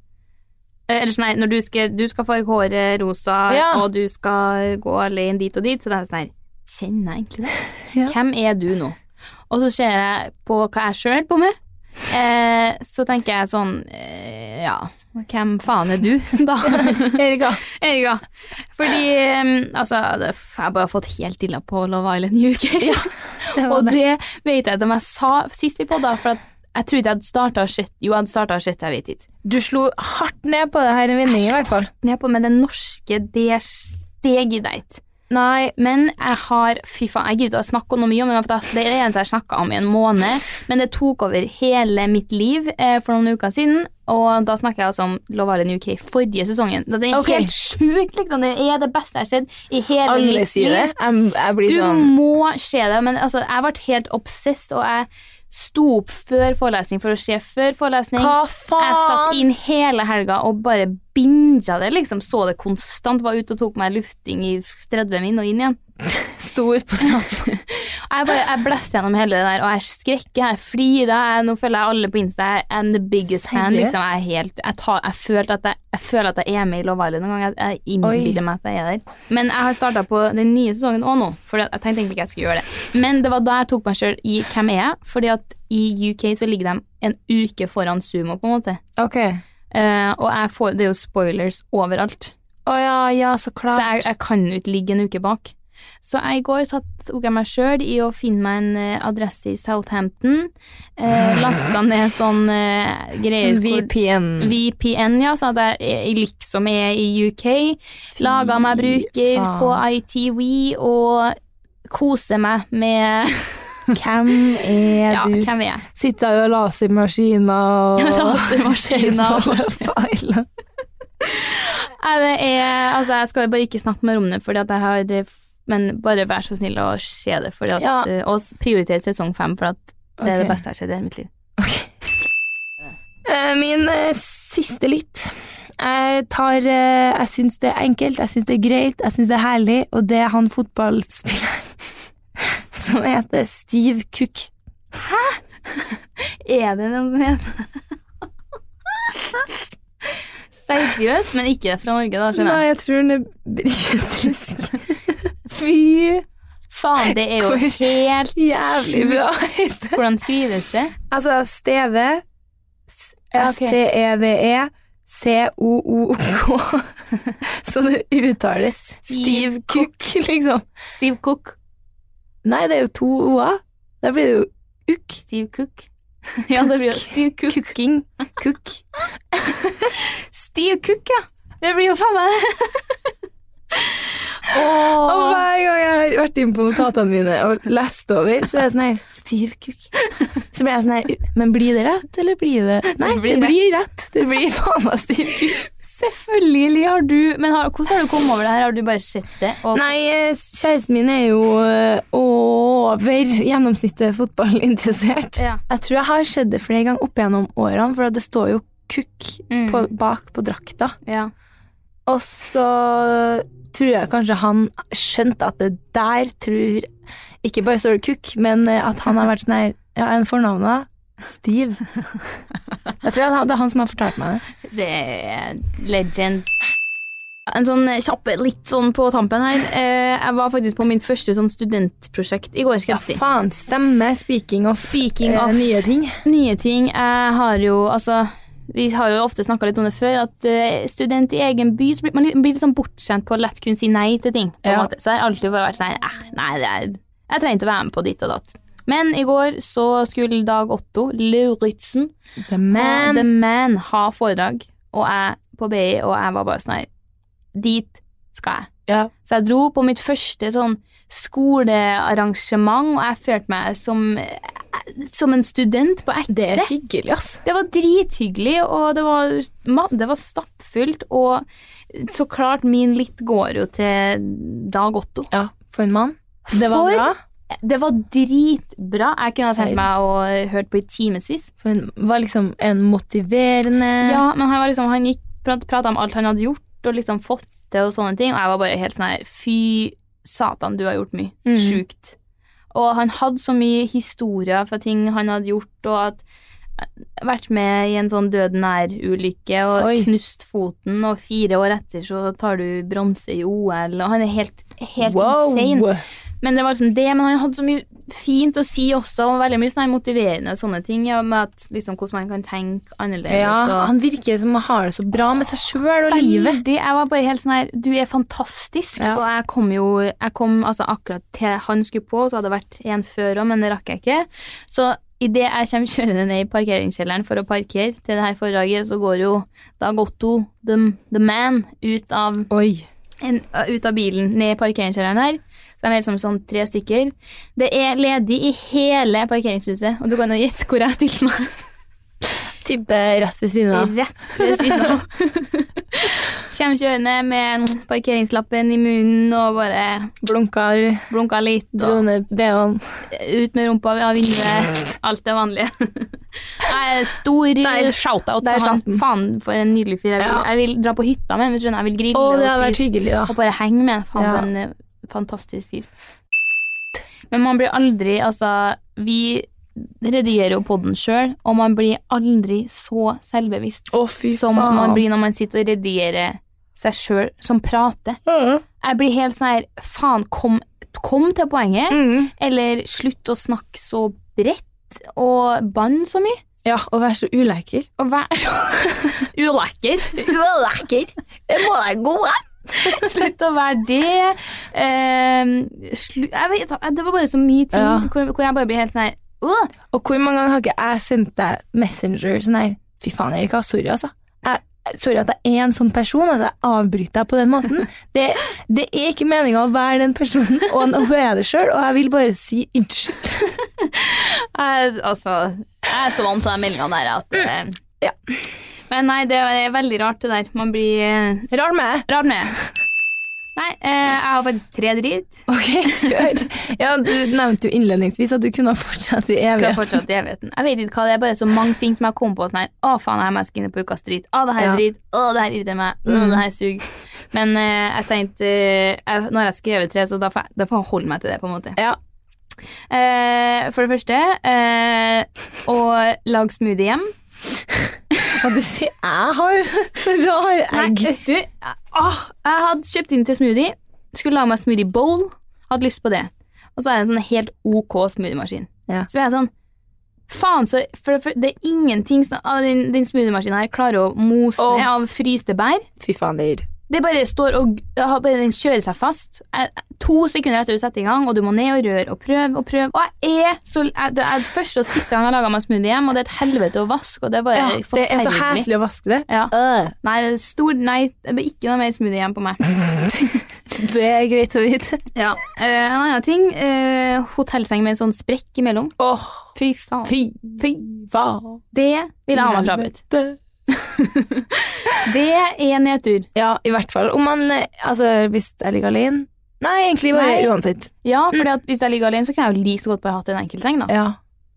[SPEAKER 2] Eh, eller sånn her, når du skal, du skal farge håret rosa,
[SPEAKER 1] Ja.
[SPEAKER 2] og du skal gå alene dit og dit, så det er sånn her Kjenner jeg egentlig
[SPEAKER 1] *laughs*
[SPEAKER 2] det?
[SPEAKER 1] Ja.
[SPEAKER 2] Hvem er du nå? Og så ser jeg på hva jeg sjøl holder på med, eh, så tenker jeg sånn eh, Ja, hvem faen er du, *laughs* da?
[SPEAKER 1] *laughs* Erika.
[SPEAKER 2] Erika. Fordi um, altså, det, f- jeg har bare fått helt dilla på Love Island i UK. *laughs*
[SPEAKER 1] det var
[SPEAKER 2] og
[SPEAKER 1] det.
[SPEAKER 2] det vet jeg ikke om jeg sa sist vi podda, for at jeg trodde jeg hadde starta å sett Jo, jeg hadde starta å sett, jeg vet ikke.
[SPEAKER 1] Du slo hardt ned på det her i vending, i hvert fall.
[SPEAKER 2] Men jeg er på med det norske, det steget i date.
[SPEAKER 1] Nei,
[SPEAKER 2] Men jeg har Fy faen, jeg gidder ikke å snakke noe mye om det, for det er det eneste jeg snakka om i en måned. Men det tok over hele mitt liv eh, for noen uker siden, og da snakker jeg altså om Love Island UK forrige sesongen. Det er
[SPEAKER 1] Ok.
[SPEAKER 2] helt sjukt, liksom. Det er det beste jeg har sett i hele
[SPEAKER 1] alle
[SPEAKER 2] mitt
[SPEAKER 1] sier
[SPEAKER 2] liv.
[SPEAKER 1] det. Jeg, jeg blir
[SPEAKER 2] Du
[SPEAKER 1] sånn
[SPEAKER 2] må se det, men altså, jeg ble helt obsessed, og jeg sto opp før forelesning for å se før forelesning.
[SPEAKER 1] Hva
[SPEAKER 2] Jeg satt
[SPEAKER 1] faen?
[SPEAKER 2] inn hele helga og bare binga det, liksom. Så det konstant. Var ute og tok meg lufting i 30 min og inn igjen.
[SPEAKER 1] Sto ut på stranda.
[SPEAKER 2] *laughs* Jeg bare, jeg blæste gjennom hele det der, og jeg skrekker, jeg flirer. Jeg, nå føler jeg alle på Insta jeg I'm the biggest fan.
[SPEAKER 1] Seriøst?
[SPEAKER 2] Liksom. Jeg, er helt, jeg, tar, jeg, føler at jeg, jeg føler at jeg er med i Love Island en gang. Jeg, jeg innbiller meg at jeg er der. Men jeg har starta på den nye sesongen òg nå, for jeg tenkte egentlig ikke jeg skulle gjøre det. Men det var da jeg tok meg sjøl i Hvem er jeg? Fordi at i UK så ligger de en uke foran Sumo, på en måte.
[SPEAKER 1] Ok.
[SPEAKER 2] Eh, og jeg får, det er jo spoilers overalt.
[SPEAKER 1] Å ja, ja, så
[SPEAKER 2] Så
[SPEAKER 1] klart.
[SPEAKER 2] jeg, jeg kan jo ikke ligge en uke bak. Så jeg i går satt tok jeg meg sjøl i å finne meg en eh, adresse i Southampton. Eh,
[SPEAKER 1] *laughs*
[SPEAKER 2] Lasta ned sånn eh, greier hvor-
[SPEAKER 1] VPN.
[SPEAKER 2] VPN, ja, sånn at jeg, jeg liksom er i UK. Laga meg bruker
[SPEAKER 1] faen.
[SPEAKER 2] på ITV og koser meg med
[SPEAKER 1] Hvem er
[SPEAKER 2] Ja,
[SPEAKER 1] du?
[SPEAKER 2] hvem er jeg?
[SPEAKER 1] Sitter jo og *laughs* lasermaskiner
[SPEAKER 2] *laughs*
[SPEAKER 1] og *laughs*
[SPEAKER 2] Lasermaskiner og-
[SPEAKER 1] og
[SPEAKER 2] Nei, det er Altså, jeg skal jo bare ikke snakke mer om det, fordi at jeg har eh, Men bare vær så snill å se det, fordi at, eh,
[SPEAKER 1] Ja.
[SPEAKER 2] og prioritere sesong fem, for at det
[SPEAKER 1] Ok.
[SPEAKER 2] er det beste jeg har sett i hele mitt liv.
[SPEAKER 1] Eh, Min eh, siste litt. Jeg tar eh, Jeg syns det er enkelt, jeg syns det er greit, jeg syns det er herlig, og det er han fotballspilleren *laughs* som heter stiv kukk.
[SPEAKER 2] Er det den som heter *laughs* Seriøst, men ikke fra Norge, da, skjønner jeg.
[SPEAKER 1] Nei, jeg tror den er britisk. *laughs* Fy
[SPEAKER 2] Faen, det er jo
[SPEAKER 1] Hvor-
[SPEAKER 2] helt
[SPEAKER 1] jævlig bra.
[SPEAKER 2] Hvordan skrives det?
[SPEAKER 1] altså, steve s- E
[SPEAKER 2] Ja, ok.
[SPEAKER 1] S-T-E-V-E C-O-O-K *laughs* Så det uttales stiv kukk, liksom.
[SPEAKER 2] Steve Cook.
[SPEAKER 1] Nei, det er jo to o-er. Da blir det jo ukk.
[SPEAKER 2] Steve Cook. *laughs* Ja, det blir jo *laughs* Steve Cook.
[SPEAKER 1] Kukking. Kukk.
[SPEAKER 2] Steve Cook, ja. Det blir jo faen meg det. *laughs*
[SPEAKER 1] Og
[SPEAKER 2] Åh.
[SPEAKER 1] hver gang jeg har vært inn på notatene mine og lest over, så er jeg sånn her Stiv
[SPEAKER 2] *laughs*
[SPEAKER 1] kukk. Så blir jeg sånn her Men blir det rett, eller blir det Nei,
[SPEAKER 2] blir
[SPEAKER 1] det blir rett. Det blir faen meg stiv kukk.
[SPEAKER 2] Selvfølgelig har du Men har, hvordan har du kommet over det her? Har du bare sett det? Og,
[SPEAKER 1] Nei, eh, kjæresten min er jo eh, over gjennomsnittet fotballinteressert.
[SPEAKER 2] Ja.
[SPEAKER 1] Jeg tror jeg har sett det flere ganger opp gjennom årene, for at det står jo kukk
[SPEAKER 2] Mm.
[SPEAKER 1] på, bak på drakta.
[SPEAKER 2] Ja.
[SPEAKER 1] Og så tror jeg kanskje han skjønte at det der tror Ikke bare står det kukk, men eh, at han har vært sånn her Ja, en fornavna
[SPEAKER 2] *laughs*
[SPEAKER 1] Stiv. Jeg tror han- det er han som har fortalt meg det.
[SPEAKER 2] Det er legend. En sånn eh, kjappe litt sånn på tampen her. Eh, jeg var faktisk på mitt første sånn studentprosjekt i går. skal jeg si.
[SPEAKER 1] faen. Stemme. Speaking of,
[SPEAKER 2] Speaking
[SPEAKER 1] eh,
[SPEAKER 2] of-
[SPEAKER 1] nye ting.
[SPEAKER 2] Nye ting. Jeg har jo altså vi har jo ofte snakka litt om det før, at eh, student i egen by så blir man litt, blir litt sånn bortskjemt på å lett kunne si nei til ting. på en
[SPEAKER 1] Ja.
[SPEAKER 2] måte. Så jeg har alltid bare vært sånn eh, Nei, det er, jeg trenger ikke å være med på ditt og datt. Men i går så skulle Dag Otto Lauritzen
[SPEAKER 1] The man.
[SPEAKER 2] Og The Man ha foredrag, og jeg på BI, og jeg var bare sånn her Dit skal jeg.
[SPEAKER 1] Ja.
[SPEAKER 2] Så jeg dro på mitt første sånn skolearrangement, og jeg følte meg som, som en student på ekte.
[SPEAKER 1] Det er hyggelig, ass.
[SPEAKER 2] Det var drithyggelig, og det var, ma- det var stappfullt. Og så klart, min litt går jo til Dag Otto.
[SPEAKER 1] Ja, for en mann. Det var
[SPEAKER 2] For-
[SPEAKER 1] bra.
[SPEAKER 2] Det var dritbra. Jeg kunne ha
[SPEAKER 1] Seil.
[SPEAKER 2] tenkt meg å høre på i timevis.
[SPEAKER 1] For en, var liksom en motiverende
[SPEAKER 2] Ja, men han, var liksom, han gikk prat, pratet om alt han hadde gjort og liksom fått til og sånne ting, og jeg var bare helt sånn her, fy satan, du har gjort mye.
[SPEAKER 1] Mm.
[SPEAKER 2] Sjukt. Og han hadde så mye historier fra ting han hadde gjort, og at eh, vært med i en sånn døden nær-ulykke og
[SPEAKER 1] Oi.
[SPEAKER 2] knust foten, og fire år etter så tar du bronse i OL, og han er helt, helt
[SPEAKER 1] Wow.
[SPEAKER 2] insane. Men det var liksom det, men han hadde så mye fint å si også, og veldig mye sånn her motiverende og sånne ting, ja, med at, liksom, hvordan man kan tenke annerledes.
[SPEAKER 1] Ja,
[SPEAKER 2] og...
[SPEAKER 1] han virker som han har det så bra med seg sjøl og livet.
[SPEAKER 2] Veldig. Jeg var bare helt sånn her Du er fantastisk.
[SPEAKER 1] Ja.
[SPEAKER 2] Og jeg kom jo Jeg kom altså akkurat til han skulle på, så hadde det vært en før òg, men det rakk jeg ikke. Så idet jeg kommer kjørende ned i parkeringskjelleren for å parkere til det her foredraget, så går jo Dag Otto, the, the man, ut av
[SPEAKER 1] Oi.
[SPEAKER 2] en, ut av bilen, ned i parkeringskjelleren her. Så de er liksom sånn tre stykker. Det er ledig i hele parkeringshuset, og du kan jo gjette hvor jeg stilte meg.
[SPEAKER 1] Tipper rett ved siden av.
[SPEAKER 2] Rett ved siden
[SPEAKER 1] *laughs*
[SPEAKER 2] av. Kjem kjørende med parkeringslappen i munnen og bare
[SPEAKER 1] Blunker,
[SPEAKER 2] blunka litt. Og
[SPEAKER 1] drone, BH-en.
[SPEAKER 2] ut med rumpa av vinduet. Alt det
[SPEAKER 1] *laughs*
[SPEAKER 2] vanlige. Jeg er stor
[SPEAKER 1] Der-
[SPEAKER 2] shout-out
[SPEAKER 1] der
[SPEAKER 2] til han.
[SPEAKER 1] satt den.
[SPEAKER 2] Faen, for en nydelig fyr. Jeg vil,
[SPEAKER 1] Ja.
[SPEAKER 2] jeg vil dra på hytta med ham. hvis du skjønner. Jeg vil grille
[SPEAKER 1] Å, det
[SPEAKER 2] og
[SPEAKER 1] hadde vært
[SPEAKER 2] spise
[SPEAKER 1] hyggelig, da.
[SPEAKER 2] og bare henge med. Faen,
[SPEAKER 1] Ja.
[SPEAKER 2] for en eh, fantastisk fyr. Men man blir aldri Altså, vi redigerer jo podden sjøl, og man blir aldri så selvbevisst
[SPEAKER 1] Å, fy
[SPEAKER 2] som man blir når man sitter og redigerer seg sjøl som prater. Jeg blir helt sånn her Faen, kom, kom til poenget.
[SPEAKER 1] Mm.
[SPEAKER 2] Eller slutt å snakke så bredt og banne så mye.
[SPEAKER 1] Ja, å være så ulekker.
[SPEAKER 2] Og vær så *laughs* ulekker.
[SPEAKER 1] Ulekker? Det må være gode.
[SPEAKER 2] *laughs* Slutt å være det. Ehm, slu, jeg vet, det var bare så mye ting
[SPEAKER 1] Ja.
[SPEAKER 2] hvor, hvor jeg bare blir helt sånn her «Åh!»
[SPEAKER 1] Og hvor mange ganger har ikke jeg sendt deg Messenger sånn her Fy faen, Erika. Sorry, altså. Jeg, sorry at jeg er en sånn person, at jeg avbryter deg på den *laughs* måten. Det, det er ikke meninga å være den personen, og nå er jeg det sjøl, og jeg vil bare si unnskyld.
[SPEAKER 2] Jeg, altså, jeg er så vant til de meldingene der at eh,
[SPEAKER 1] Mm. Ja.
[SPEAKER 2] Men nei, det er veldig rart, det der. Man blir eh,
[SPEAKER 1] Rar med.
[SPEAKER 2] Rar med. Nei, eh, jeg har faktisk tre drit.
[SPEAKER 1] *laughs* Ok, kjør. Ja, du nevnte jo innledningsvis at du kunne ha fortsatt i
[SPEAKER 2] Jeg har
[SPEAKER 1] evigheten.
[SPEAKER 2] fortsatt i evigheten. Jeg vet ikke hva det er, bare så mange ting som jeg kom på sånn her. Å, faen, jeg må skrive på ukas drit. Å, det her
[SPEAKER 1] Ja.
[SPEAKER 2] er
[SPEAKER 1] Mm.
[SPEAKER 2] drit. Å, det her irriterer meg. Å, det her suger. Men eh, jeg tenkte eh, jeg, Nå har jeg skrevet tre, så da får jeg, da får jeg holde meg til det, på en måte.
[SPEAKER 1] Ja.
[SPEAKER 2] Eh, for det første eh, å lage smoothie hjem.
[SPEAKER 1] Og du sier jeg har *laughs* så rar egg.
[SPEAKER 2] Nei, vet du, åh, jeg hadde kjøpt inn til smoothie. Skulle lage meg smoothie bowl. Hadde lyst på det. Og så er det en sånn helt ok smoothiemaskin.
[SPEAKER 1] Ja.
[SPEAKER 2] Så jeg er sånn Faen, så for, for, Det er ingenting som av den, den smoothiemaskinen her klarer å mose
[SPEAKER 1] Åh.
[SPEAKER 2] ned av fryste bær.
[SPEAKER 1] Fy faen, det gir.
[SPEAKER 2] Det bare står og har bare, Den kjører seg fast. Jeg, to sekunder etter du setter i gang, og du må ned og røre og prøve og prøve. Og jeg er så jeg, Det er første og siste gang jeg lager meg smoothie hjem, og det er et helvete å vaske, og det er bare
[SPEAKER 1] Ja, det er så
[SPEAKER 2] forferdelig.
[SPEAKER 1] heslig å vaske det.
[SPEAKER 2] Ja.
[SPEAKER 1] Øh,
[SPEAKER 2] Nei, det er stor, nei, det blir ikke noe mer smoothie hjem på meg. *laughs*
[SPEAKER 1] Det er greit å vite.
[SPEAKER 2] Ja. en annen ting, eh, hotellseng med en sånn sprekk imellom.
[SPEAKER 1] Åh,
[SPEAKER 2] Fy faen.
[SPEAKER 1] fy, fy faen.
[SPEAKER 2] Det vil jeg ha meg frabedt.
[SPEAKER 1] Helvete.
[SPEAKER 2] Det er nedtur.
[SPEAKER 1] Ja, i hvert fall. Om man eh, Altså, hvis jeg ligger alene Nei, egentlig bare
[SPEAKER 2] Nei.
[SPEAKER 1] uansett.
[SPEAKER 2] Ja, for hvis jeg ligger alene, så kan jeg jo like så godt bare hatt en enkeltseng, da.
[SPEAKER 1] Mm. Ja,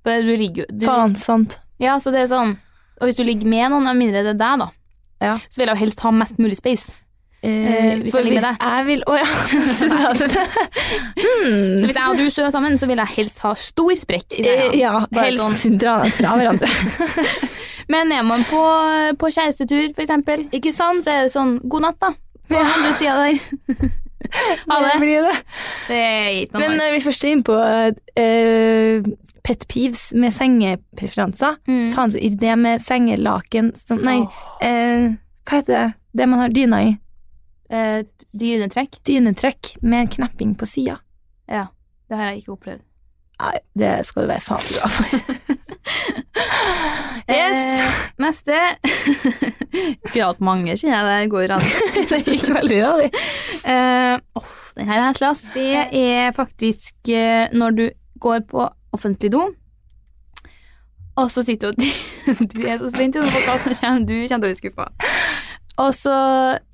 [SPEAKER 2] For Du ligger, jo- du,
[SPEAKER 1] faen, sant.
[SPEAKER 2] Ja, så det er sånn Og hvis du ligger med noen, med mindre det er deg, da,
[SPEAKER 1] Ja.
[SPEAKER 2] så vil jeg jo helst ha mest mulig space. Eh, hvis
[SPEAKER 1] for
[SPEAKER 2] jeg ligger
[SPEAKER 1] hvis
[SPEAKER 2] med deg.
[SPEAKER 1] jeg vil Å
[SPEAKER 2] *laughs*
[SPEAKER 1] ja. Så sa du det.
[SPEAKER 2] Så hvis jeg og du sover sammen, så vil jeg helst ha stor sprekk i senga.
[SPEAKER 1] Eh, *laughs* Ja,
[SPEAKER 2] Bare
[SPEAKER 1] helst
[SPEAKER 2] sånn.
[SPEAKER 1] dra deg fra hverandre.
[SPEAKER 2] Men er man på, på kjærestetur, for eksempel,
[SPEAKER 1] Ikke sant?
[SPEAKER 2] så er det sånn god
[SPEAKER 1] *laughs*
[SPEAKER 2] natt, da. På andre sida der.
[SPEAKER 1] Det
[SPEAKER 2] Ha det.
[SPEAKER 1] *laughs*
[SPEAKER 2] Sånn
[SPEAKER 1] blir det.
[SPEAKER 2] Det er ikke
[SPEAKER 1] eh, Men
[SPEAKER 2] noe nice.
[SPEAKER 1] når vi først er inne på eh, pet peeves med sengepreferanser
[SPEAKER 2] Mm.
[SPEAKER 1] Faen, så irr det med sengelaken som Nei, eh, hva heter det? Det man har dyna i.
[SPEAKER 2] Eh, Dynetrekk?
[SPEAKER 1] Dynetrekk med knepping på sida.
[SPEAKER 2] Ja. Det har jeg ikke opplevd.
[SPEAKER 1] Nei, det skal du være faen glad for. *laughs* yes!
[SPEAKER 2] Eh, neste. *laughs* Skulle hatt mange, kjenner jeg. Det går an.
[SPEAKER 1] *laughs* det gikk veldig rart.
[SPEAKER 2] Eh, åh, den her er heslig, ass. Det er faktisk eh, når du går på offentlig do, og så sitter du og *laughs* Du er så spent jo på hva som kommer, du kommer til å bli skuffa. Og så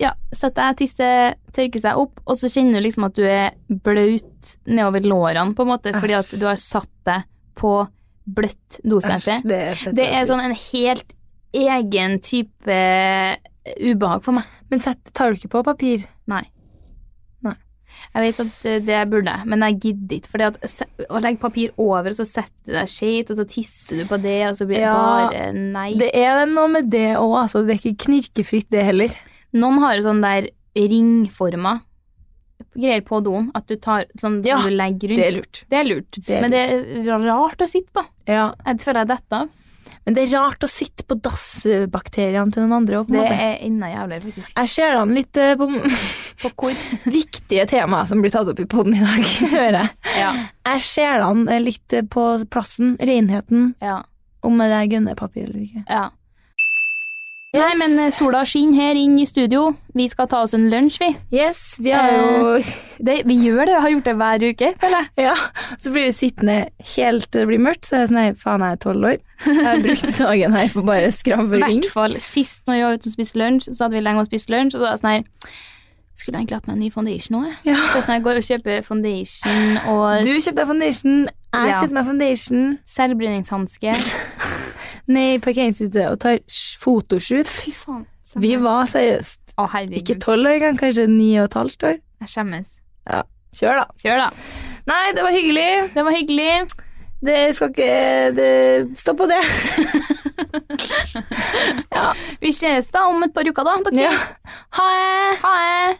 [SPEAKER 2] ja, setter jeg tisset, tørker seg opp, og så kjenner du liksom at du er blaut nedover lårene, på en måte, fordi at du har satt deg på bløtt dosete. Det er sånn en helt egen type eh, ubehag for meg.
[SPEAKER 1] Men sett, tar du ikke på papir?
[SPEAKER 2] Nei. Jeg vet at eh, det burde jeg, men jeg gidder ikke. Fordi at se- å legge papir over, og så setter du deg skjevt, og så tisser du på det, og så blir det
[SPEAKER 1] Ja,
[SPEAKER 2] bare nei.
[SPEAKER 1] Det er noe med det òg, altså. Det er ikke knirkefritt, det heller.
[SPEAKER 2] Noen har jo sånn der ringforma greier på doen, at du tar sånn som
[SPEAKER 1] Ja,
[SPEAKER 2] du legger rundt.
[SPEAKER 1] Det er lurt.
[SPEAKER 2] Det er lurt.
[SPEAKER 1] Det er
[SPEAKER 2] men det er rart å sitte på.
[SPEAKER 1] Ja.
[SPEAKER 2] Jeg føler jeg detter av.
[SPEAKER 1] Men det er rart å sitte på dassbakteriene til noen andre. også, på en
[SPEAKER 2] Det
[SPEAKER 1] måte.
[SPEAKER 2] er enda jævligere, faktisk.
[SPEAKER 1] Jeg ser da litt eh, *laughs* på
[SPEAKER 2] På hvor?
[SPEAKER 1] viktige temaer som blir tatt opp i poden i dag. *laughs* hører jeg.
[SPEAKER 2] Ja.
[SPEAKER 1] Jeg ser da litt eh, på plassen, renheten,
[SPEAKER 2] ja.
[SPEAKER 1] om det er gunnepapir eller ikke.
[SPEAKER 2] ja. Nei, men eh, sola skinner her inn i studio. Vi skal ta oss en lunsj, vi.
[SPEAKER 1] Yes, vi har jo *laughs*
[SPEAKER 2] Det, vi gjør det, vi har gjort det hver uke, føler jeg.
[SPEAKER 1] Ja, så blir vi sittende helt til det blir mørkt, så er jeg sånn Nei, faen, jeg er tolv år. Jeg har brukt dagen her på bare
[SPEAKER 2] I
[SPEAKER 1] skravling.
[SPEAKER 2] hvert fall sist når vi var ute og spiste lunsj, så hadde vi lenge å spise lunsj, og så var jeg sånn her Skulle jeg egentlig hatt meg en ny foundation nå, jeg.
[SPEAKER 1] Ja.
[SPEAKER 2] Så jeg sånn her, går og kjøper foundation og
[SPEAKER 1] Du kjøpte deg foundation, jeg
[SPEAKER 2] Ja.
[SPEAKER 1] kjøpte meg foundation,
[SPEAKER 2] selvbryningshanske.
[SPEAKER 1] ned i parkeringsrute og tar sj- fotoshoot.
[SPEAKER 2] Fy faen.
[SPEAKER 1] Vi var seriøst
[SPEAKER 2] Å,
[SPEAKER 1] ikke
[SPEAKER 2] herregud.
[SPEAKER 1] tolv år engang, kanskje ni og et halvt år.
[SPEAKER 2] Jeg skjemmes.
[SPEAKER 1] Kjør, da.
[SPEAKER 2] Kjør, da.
[SPEAKER 1] Nei, det var hyggelig.
[SPEAKER 2] Det var hyggelig.
[SPEAKER 1] Det skal ikke det, Stå på det. *laughs*
[SPEAKER 2] Vi ses da om et par uker, da. Dere.
[SPEAKER 1] Ja. Ha det.
[SPEAKER 2] Ha det.